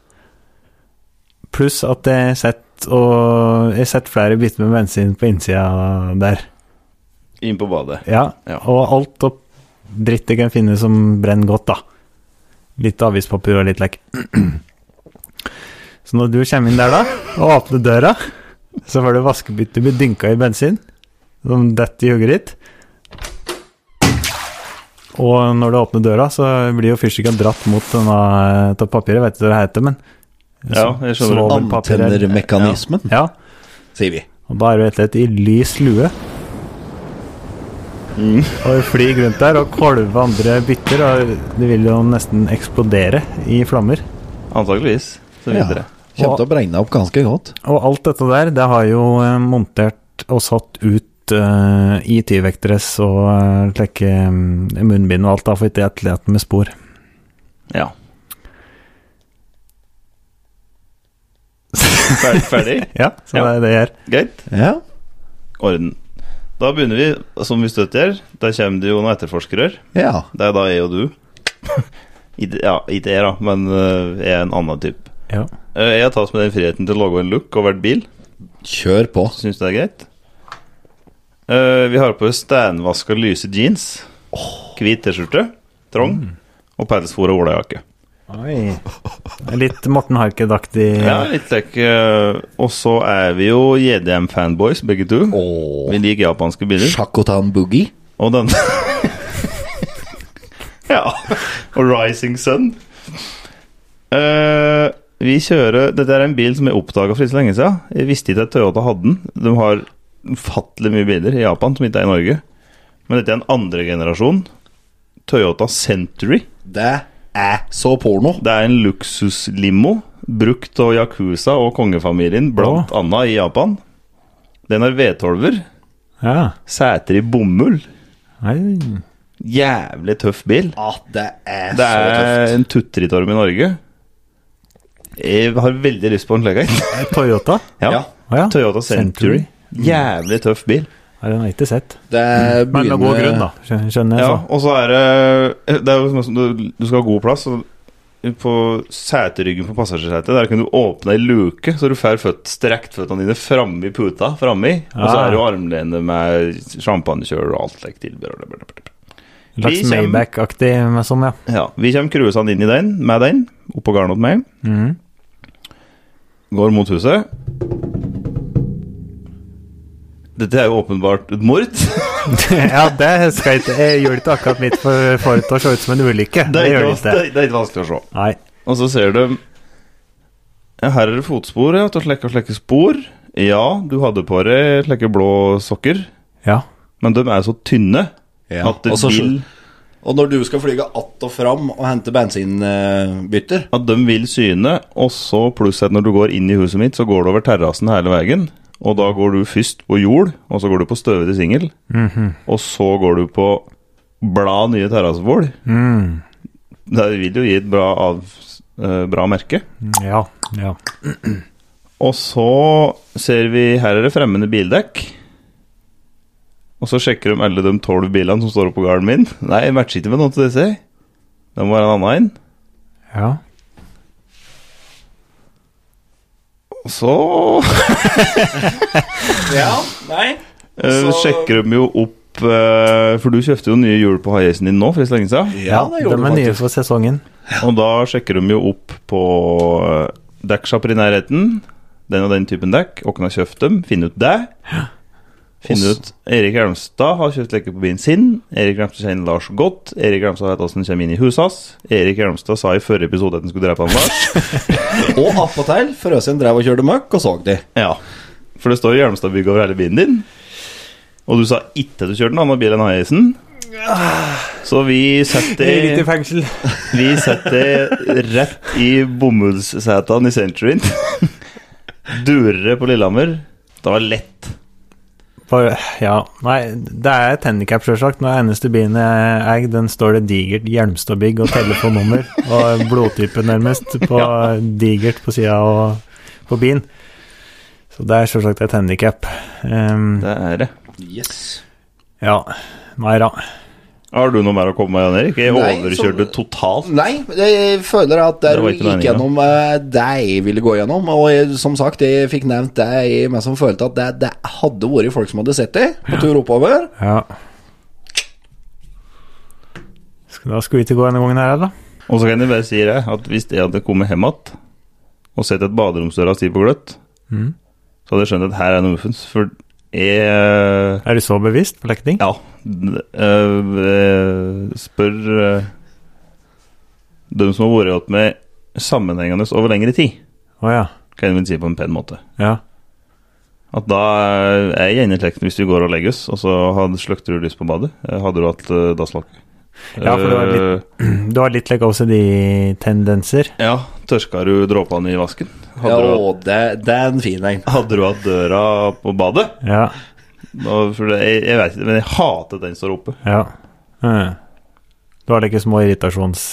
S3: Pluss at jeg setter og jeg setter flere biter med bensin på innsida der.
S1: Inn på badet.
S3: Ja,
S1: Ja.
S3: og alt og dritt jeg kan finne som brenner godt, da. Litt avispapir og litt lekk. Så når du kommer inn der, da, og åpner døra, så får du vaskebyttet bli dynka i bensin, som detter i hugget ditt. Og når du åpner døra, så blir jo fyrstikka dratt mot denne av papiret, vet du hva det heter, men
S1: Ja, jeg skjønner.
S3: Svovelpapiret.
S5: Antennermekanismen,
S3: Ja,
S5: sier vi.
S3: Og da er du rett og slett i lys lue.
S1: Mm.
S3: Og flyr rundt der og kolver andre bytter, og det vil jo nesten eksplodere i flammer.
S1: Antakeligvis. Så videre.
S5: Kommer til å brenne opp ganske godt.
S3: Og alt dette der, det har jo eh, montert og satt ut eh, IT-vekteres og eh, slekke eh, munnbind og alt, da, for ikke etterlaten med spor.
S1: Ja. Fer- Ferdig?
S3: Ja, så
S1: Ja.
S3: det er det jeg gjør.
S1: Greit?
S5: Ja.
S1: Orden. Da begynner vi, som vi støtter. Der kommer det jo noen etterforskere.
S5: ja.
S1: Det er da jeg og du. Ikke- ja, ikke jeg, da, men eh, jeg er en annen type.
S3: Ja.
S1: Eh, jeg tas med den friheten til å logge en look over et bil.
S5: Kjør på.
S1: Syns du det er greit? Eh, vi har på oss steinvaska lyse jeans, hvit T-skjorte, trang og pelsfòr og olajakke.
S3: Oi. Litt Morten Harket-aktig.
S1: Ja, litt slik. eh, og så er vi jo JDM-fanboys, begge to.
S5: Åh.
S1: Vi liker japanske biler.
S5: Shakotan Boogie.
S1: Og den Ja. Og Rising Sun. Eh, vi kjører Dette er en bil som jeg oppdaga for ikke så lenge siden. Jeg visste ikke at Toyota hadde den. De har ufattelig mye biler i Japan som ikke er i Norge. Men dette er en andre generasjon Toyota Century.
S5: Det er så porno.
S1: Det er en luksuslimo brukt av Yakuza og kongefamilien, blant annet i Japan. Den har V12-er,
S3: ja.
S1: seter i bomull.
S3: Nei.
S1: Jævlig tøff bil.
S5: Ah, det er
S1: Det
S5: så
S1: er
S5: tøft.
S1: en tuttritorm i Norge. Jeg har veldig lyst på en slik en.
S3: Toyota?
S1: Ja.
S5: Ja.
S3: Å ja.
S1: Toyota Century. Jævlig tøff bil.
S3: Nei, den har jeg ikke sett.
S5: Det er
S3: Men med god grunn, da. Skjø- Skjønner sånn. jeg.
S1: Ja,
S3: så.
S1: og så er det Det er jo som du, du skal ha god plass. Og på seteryggen på passasjersetet Der kan du åpne ei luke, så du får føtt, strekt føttene dine framme i puta. Framme i, Og så
S3: Ah.
S1: er det jo armlene med sjampanjekjøler og alt slikt tilbehør.
S3: En Slags
S1: Vi kjem-
S3: Maybach-aktig, men som, ja.
S1: Ja, vi kommer cruisende inn i den med den, oppå garnet med.
S3: Mhm.
S1: Går mot huset. Dette er jo åpenbart et mord.
S3: ja, det skal jeg ikke Jeg gjorde ikke akkurat mitt for, for det å se ut som en ulykke.
S1: Det
S3: Det
S1: er
S3: gjør
S1: ikke,
S3: det ikke.
S1: det, det er ikke vanskelig å se.
S3: Nei.
S1: Og så ser du ja, Her er det fotspor, ja. Til slekke og slekke spor. Ja, du hadde på deg slekke blå sokker,
S3: Ja.
S1: men de er så tynne
S5: Ja.
S1: at det
S5: Og så-
S1: vil
S5: Og når du skal flyge att og fram og hente bensinbytter
S1: at de vil syne, og så pluss at når du går inn i huset mitt, så går du over terrassen hele veien. Og da går du først på jord, og så går du på støvete singel.
S3: Mhm.
S1: Og så går du på blad nye terrassebord.
S3: Mm.
S1: Det vil jo gi et bra, av, eh, bra merke.
S3: Ja. ja.
S1: Og så ser vi Her er det fremmede bildekk. Og så sjekker de alle de tolv bilene som står oppå gården min. Nei, jeg matcher ikke med noen av disse. Det må være en annen en.
S3: ja.
S1: Og så
S5: Ja, nei
S1: Eh,
S5: Så-
S1: sjekker de jo opp eh, For du kjøpte jo nye hjul på haieisen din nå, for ikke så lenge siden.
S5: Ja, det
S3: de
S5: gjorde du
S3: er nye
S5: faktisk.
S3: for sesongen.
S1: Og da sjekker de jo opp på eh, dekksjapper i nærheten. Den og den typen dekk. Hvem har kjøpt dem? Finn ut det. Finn
S5: Oss.
S1: ut Erik Elmstad har kjøpt leker på bilen sin. Erik Elmstad kjenner Lars godt. Erik Elmstad vet hvordan han kommer inn i huset hans. Erik Elmstad sa i forrige episode at han skulle drepe han Lars.
S5: Og attpåtil, Frøsien drev og kjørte møkk og så de.
S1: Ja, for det står jo Hjelmstadbygg over hele bilen din. Og du sa ikke at du kjørte en annen bil enn Haieisen. Så vi setter,
S3: fengsel.
S1: vi setter rett i bomullssetene i Centuryen. Durere på Lillehammer. Det var lett.
S3: Bare, ja, nei, det er et handikap, sjølsagt. Når eneste bilen jeg eier, den står det digert Hjelmstadbygg og telefonnummer og blodtype, nærmest, på digert på sida og på bilen. Så det er sjølsagt et handikap.
S1: Det er det.
S5: Yes.
S3: ja, nei da.
S1: Har du noe mer å komme med, Jan Erik? Jeg
S5: Nei,
S1: overkjørte
S5: så-
S1: totalt.
S5: Nei, jeg føler at der
S1: Det var
S5: vi
S1: ikke
S5: gikk
S1: meningen.
S5: gjennom eh, det jeg ville gå gjennom. Og jeg, som sagt, jeg fikk nevnt det jeg meg som følte at det, det hadde vært folk som hadde sett det på tur oppover.
S3: Ja. Skal- Da skal vi ikke gå denne gangen her, da.
S1: Og så kan jeg bare si det, at hvis jeg hadde kommet hjem igjen og sett et baderomsdøra sti på gløtt, Mm.
S3: Mhm.
S1: så hadde jeg skjønt at her er noe muffens. For jeg
S3: Er du så bevisst på lekting?
S1: Ja. d- øh, øh, spør øh, dem som har vært med sammenhengende over lengre tid,
S3: Å ja.
S1: kan jeg vel si på en pen måte.
S3: ja.
S1: At da er jeg gjerne slekten hvis du går og legges, og så hadde- slukter du lys på badet. Eh, Hadde du hatt uh, dasslokk?
S3: Ja, for det var litt-
S1: Eh,
S3: Du har litt like OCD-tendenser.
S1: ja, tørka du dråpene i vasken?
S5: Ja,
S1: Hadde, du hatt,
S5: å, det, det er en fin en.
S1: hadde du hatt døra på badet?
S3: Ja,
S1: Nå, for det, jeg, jeg vet ikke, men jeg hater at den står oppe.
S3: ja. Mm. Du har like små irritasjons...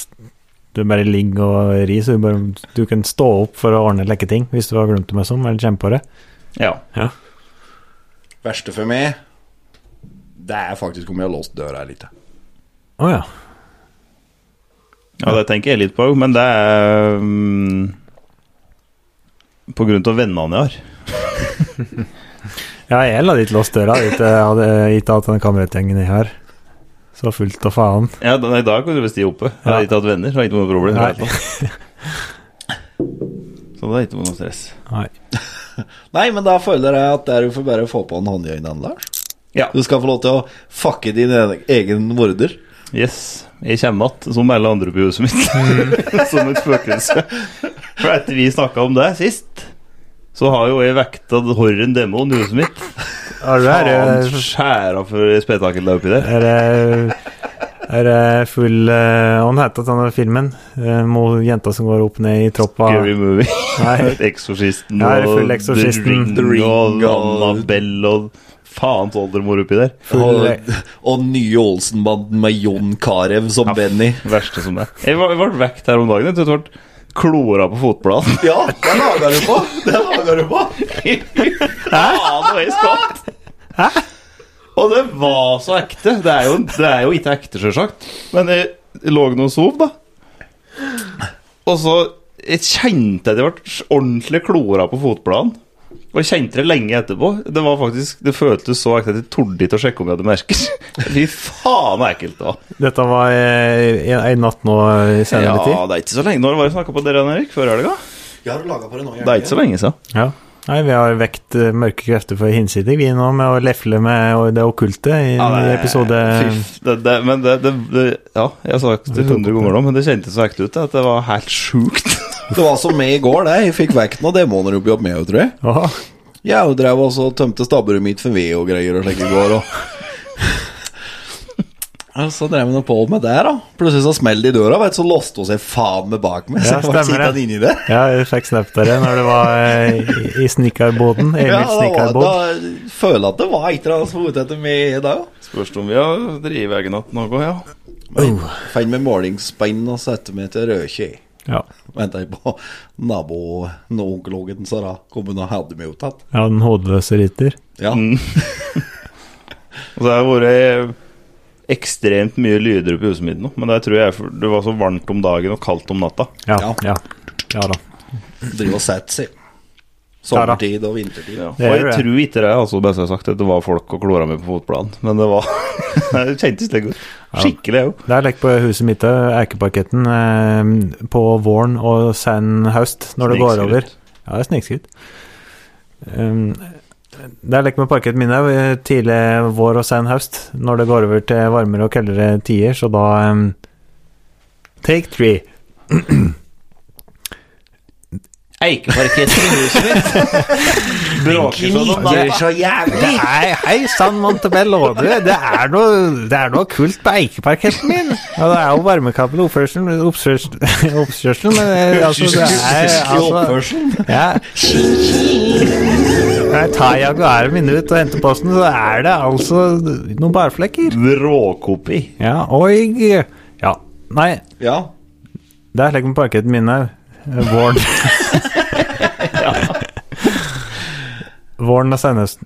S3: Du bare ligger og rir, så du, bare, du kan stå opp for å ordne lekke ting hvis du har glemt dem, liksom, eller kjempe på det.
S1: Ja.
S5: Verste for meg, det er faktisk om jeg har låst døra litt.
S3: Å ja.
S1: ja, det tenker jeg litt på, men det er mm, på grunn av vennene jeg har.
S3: Ja, jeg hadde ikke låst døra, ikke hadde ikke hatt den kameratgjengen jeg har. Så fullt av faen.
S1: Ja, da- nei, da kan du visst gi oppe. Jeg har
S3: Ja.
S1: ikke hatt venner, så jeg har ikke noe problem.
S3: Nei.
S1: Så det er ikke noe stress.
S3: Nei.
S5: Nei, men da føler jeg at det er jo for bare å få på en håndjøyne, Lars.
S1: Ja.
S5: Du skal få lov til å fucke din e- egen morder.
S1: Yes, jeg kommer igjen som alle andre på huset mitt. som et spøkelse. For etter vi snakka om det sist, så har jo jeg vekta horren demon i huset mitt.
S3: Er det,
S1: Faen
S3: er,
S1: skjæra for spetakkel der oppi der.
S3: det, er, det, er det full eh, Hva het denne filmen? Eh, Mo jenta som går opp ned i troppa
S1: Scary movie.
S3: Nei.
S1: Eksorsisten
S3: Ja, det er
S1: og
S3: full Exorcisten.
S1: The
S5: The
S1: Ring og
S5: Ring og-
S1: Annabelle og faens oldemor oppi der.
S5: Og,
S3: Full-
S5: og nye Olsenbanden med Jon Carew som
S1: Ja,
S5: Benny.
S1: Verste som det. Jeg var- jeg ble vekt her om dagen. Jeg tror jeg ble klora på fotbladet.
S5: Ja, den laga du på! Den laga du på!
S1: Faen, og jeg skvatt! Og det var så ekte. Det er jo, det er jo ikke ekte, sjølsagt. Men jeg, jeg lå nå og sov, da. Og så jeg kjente at jeg ble ordentlig klora på fotbladene. Og jeg kjente det lenge etterpå. Det var faktisk, det føltes så ekte at jeg torde ikke å sjekke om jeg hadde merker. Fy faen, så ekkelt det var.
S3: Dette var eh, en, en natt nå eh, i senere
S1: Ja, det er ikke så lenge. Når var det snakka på dere, Erik? Før helga?
S5: Jeg har laga på det nå.
S1: Det er ikke så lenge siden.
S3: tid. Ja. Nei, vi har vekt eh, mørke krefter for hinsidig, vi nå, med å lefle med og det okkulte i
S1: Ja, det-
S3: episode
S1: Fy f- det, det, men det, det, det Ja, jeg har sagt det 100 ganger nå, men det kjentes så ekte ut at det var helt sjukt.
S5: Det var som meg i går, det. Jeg fikk vekk noen demoner oppi opp med, tror jeg.
S3: Åh,
S5: Jeg jo drev også og tømte stabburet mitt for ved og greier og slik i går, og Og så drev vi nå på med det, da. Plutselig så smell det i døra, vet du, så låste hun seg faen meg bak meg. Så
S3: Ja,
S5: jeg var
S3: stemmer det.
S5: sittende inni det.
S3: Ja, jeg fikk snap dere når det var eh, i, i snikkerbåten.
S5: Ja,
S3: Emil
S5: da, var-
S3: snikkerbåt.
S5: da føler jeg at det var et eller annet som var ute etter meg i dag. da.
S1: Spørs om vi har drevet egen natt noe, ja.
S3: Oh,
S5: Fant meg målingspenn og satte meg til Rødkje.
S3: Ja.
S5: Venta jeg på naboonkologen, så da kom hun og hadde meg opptatt.
S3: ja, den hodeløse rytter.
S5: Ja.
S1: Og så Altså, har det vært ekstremt mye lyder oppe i huset mitt nå, men det tror jeg er for- det var så varmt om dagen og kaldt om natta.
S3: Ja,
S5: Ja.
S3: ja. ja da.
S5: Driver og setter seg.
S3: Ja, da.
S5: Sommertid og vintertid.
S1: Og
S3: Det er
S1: jeg
S3: det.
S1: tror ikke det, altså, best jeg har sagt, at det var folk og klora meg på fotbladen, men det var Det kjentes litt godt. Skikkelig, jeg òg.
S3: Det er lekt på huset mitt, eh, Eikeparketten, eh, på våren og sen høst, når det går over. Ja, det er snikskritt. Um, det er lekt med parketten min òg. eh, Tidlig vår og sen høst, når det går over til varmere og kaldere tider, så da um, Take three.
S1: Eikeparketten i huset mitt bråker sånn om
S5: Det er så
S3: Det
S5: jævlig!
S3: er, hei sann, Montebello. Du, det er noe, det er noe kult på Eikeparketten min. Ja, det er jo varmekabel oppførselen oppkjørsel, oppkjørselen, men eh, altså, det er altså, ja. Jeg tar Jaguaren min ut og henter posten, så er det altså noen barflekker.
S1: Råkopi.
S3: Ja, oi. Ja, nei,
S5: Ja.
S3: det er slik med parketten min òg. Våren. Våren og senhøsten.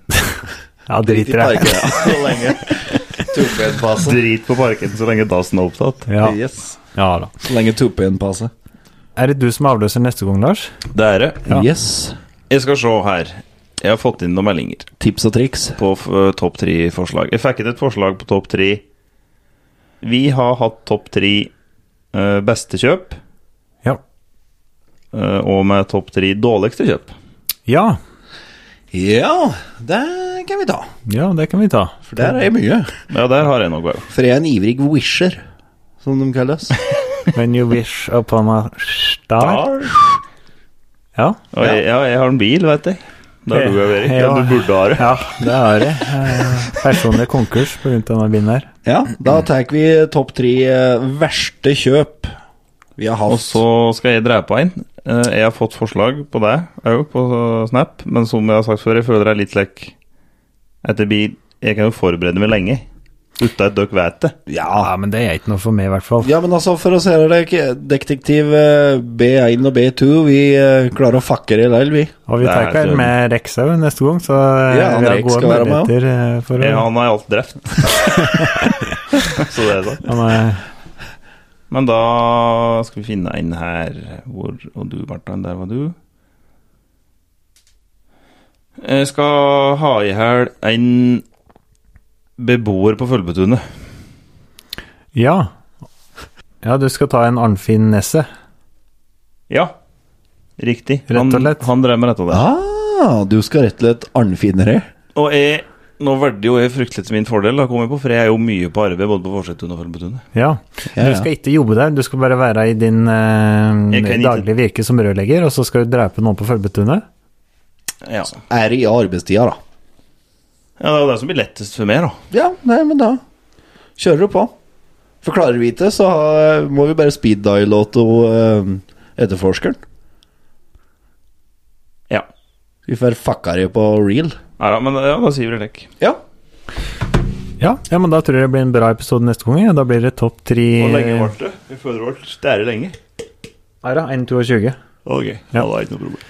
S3: Ja,
S5: Drit i
S3: driter jeg.
S5: parken ja. så lenge. Tuppen-passet.
S1: Drit på parken så lenge dassen er opptatt.
S3: Ja,
S5: Yes.
S3: ja da.
S5: Så lenge tuppen-passet.
S3: Er det du som avløser neste gang, Lars?
S1: Det er det.
S3: Ja.
S5: Yes.
S1: Jeg skal se her. Jeg har fått inn noen meldinger
S5: Tips og triks.
S1: på f eh, topp tre-forslag. Jeg fikk inn et forslag på topp tre. Vi har hatt topp tre eh, beste kjøp,
S3: Ja.
S1: eh, og med topp tre dårligste kjøp.
S3: Ja,
S5: Ja, det kan vi ta.
S3: ja det kan vi ta.
S5: For der er mye.
S1: Ja, der har jeg noe òg.
S5: For jeg er en ivrig wisher, som de kalles.
S3: When you wish upon a star. Ja,
S1: Og jeg, ja, jeg har en bil, vet jeg. Der lo jeg av Erik. Ja,
S3: Ja.
S1: du burde ha det.
S3: Ja, det er det. Eh, Personlig konkurs på grunn av denne bilen her.
S5: Ja, da tar vi topp tre eh, verste kjøp vi har
S1: Og
S5: hatt.
S1: så skal jeg drepe en. Eh, Jeg har fått forslag på det òg, på Snap. Men som jeg har sagt før, jeg føler jeg litt lekk etter bil. Jeg kan jo forberede meg lenge. Uten at dere vet det.
S5: Ja,
S3: Ja, men det er ikke noe for meg, i hvert fall.
S5: Ja, men altså, for å se det, ikke- detektiv eh, B1 og B2, vi eh, klarer å fucke det i leil, vi.
S3: Og vi
S1: Det er
S3: tar ikke
S1: helt
S3: med Rex òg neste gang, så eh,
S5: Ja, han
S3: vi har
S5: Rex
S3: gode
S5: skal være med
S3: muligheter eh, for
S1: Jeg,
S3: å
S1: han har jeg alt drept. så det er sant.
S3: Han er-
S1: Men da skal vi finne en her hvor Og du, Martin, der var du. Jeg skal ha i hæl en beboer på Følbetunet.
S3: Ja. Ja, du skal ta en Arnfinn Nesset.
S1: Ja, riktig.
S3: Rett og slett.
S1: Han, han drev med rett og slett.
S5: Ah, du skal rett og slett arnfinere.
S1: Og jeg, nå verdig jo jeg fryktelig til min fordel, da kom jeg på, for jeg er jo mye på arbeid, både på Forsetun og Følbetunet.
S3: Ja.
S5: Ja,
S3: Du
S5: ja.
S3: skal ikke jobbe der, du skal bare være i din eh,
S1: Jeg kan ikke-
S3: daglige virke som rørlegger, og så skal du drepe noen på Følbetunet?
S1: Ja.
S5: Er i arbeidstida, da.
S1: ja, det er jo det som blir lettest for meg, da.
S5: Ja, nei, men da kjører du på. For klarer vi ikke, så eh, må vi bare speed dial auto eh, etterforskeren.
S1: Ja.
S5: Vi får fucka det på real.
S1: Nei da, men ja, da sier vi det lekk.
S5: Ja.
S3: Ja. ja, men da tror jeg det blir en bra episode neste gang. Ja. Da blir det topp tre
S1: Hvor lenge ble det? Jeg føler det ble stære lenge.
S3: Nei da, 1,22.
S1: Ok, ja. det er ikke noe problem.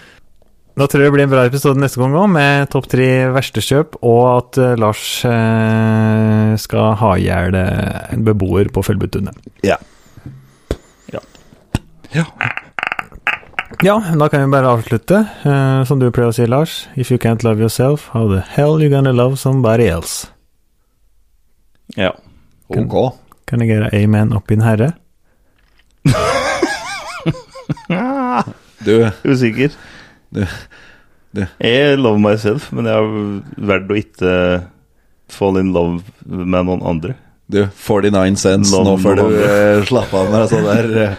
S3: Da tror jeg det blir en bra episode neste gang òg, med topp tre verste kjøp, og at eh, Lars eh, skal ha i hjel eh, en beboer på Følbetunet.
S5: Ja.
S3: Ja, da kan vi bare avslutte. Eh, som du pleier å si, Lars, if you can't love yourself, how the hell you gonna love somebody else?
S1: Ja.
S5: Ok.
S3: Kan jeg gjøre amen opp i den herre?
S5: Du,
S1: Usikker.
S5: Du- du.
S1: Jeg love myself, men jeg har valgt å ikke fall in love med noen andre.
S5: du 49 cents,
S1: Nå
S5: nå
S1: må
S5: får du
S1: man-
S5: eh, slappe av med det sånn der. eh,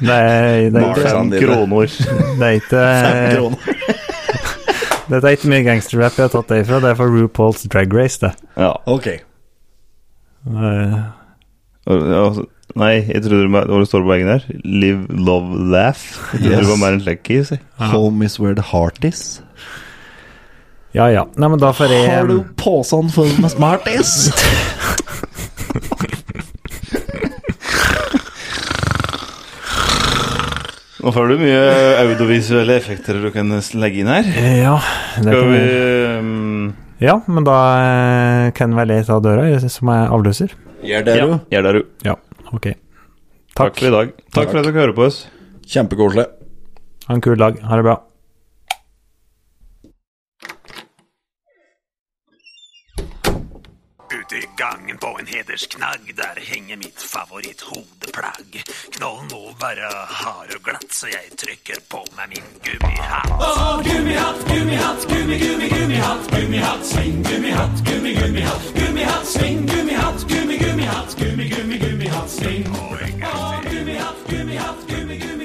S3: Det er, det er,
S5: Lars.
S3: ikke,
S1: Fem
S5: Sandine.
S1: kroner.
S3: det er ikke
S5: kroner.
S3: Dette er ikke mye gangsterrap jeg har tatt det ifra. Det er fra RuPaul's Drag Race, det.
S1: Ja.
S5: Ok.
S3: Eh,
S1: Og- og- Altså, Nei, jeg trodde det var- hva det står på veggen her. Live, love, laugh. Jeg trodde
S5: Yes.
S1: det var mer enn lekk i.
S5: Home is where the heart is.
S3: Ja ja. Nei, men da får jeg
S5: Har du posen full med smarties?
S1: Nå får du mye audiovisuelle effekter du kan legge inn her.
S3: eh, Ja, det
S1: Skal
S3: kan
S1: vi
S3: vi
S1: um,
S3: Ja, men da eh, kan vel jeg ta døra, jeg- som er avløser?
S5: Gjør det,
S1: Ja,
S5: du.
S1: gjør det, du.
S3: Ok.
S1: Takk for i dag. Takk for at dere hører på oss.
S5: Kjempekoselig.
S3: Ha en kul dag. Ha det bra.
S7: Ute i gangen på en hedersknagg, der henger mitt favoritthodeplagg. Knollen må være hard og glatt, så jeg trykker på meg min gummihatt. gummihatt, gummihatt, gummi, gummi, gummihatt, gummihatt, sving, gummihatt, gummi, gummihatt, gummihatt, sving, gummihatt, gummi, gummihatt, gummi, gummi, gummihatt, sving. Å, gummihatt, gummihatt, gummi, gummi,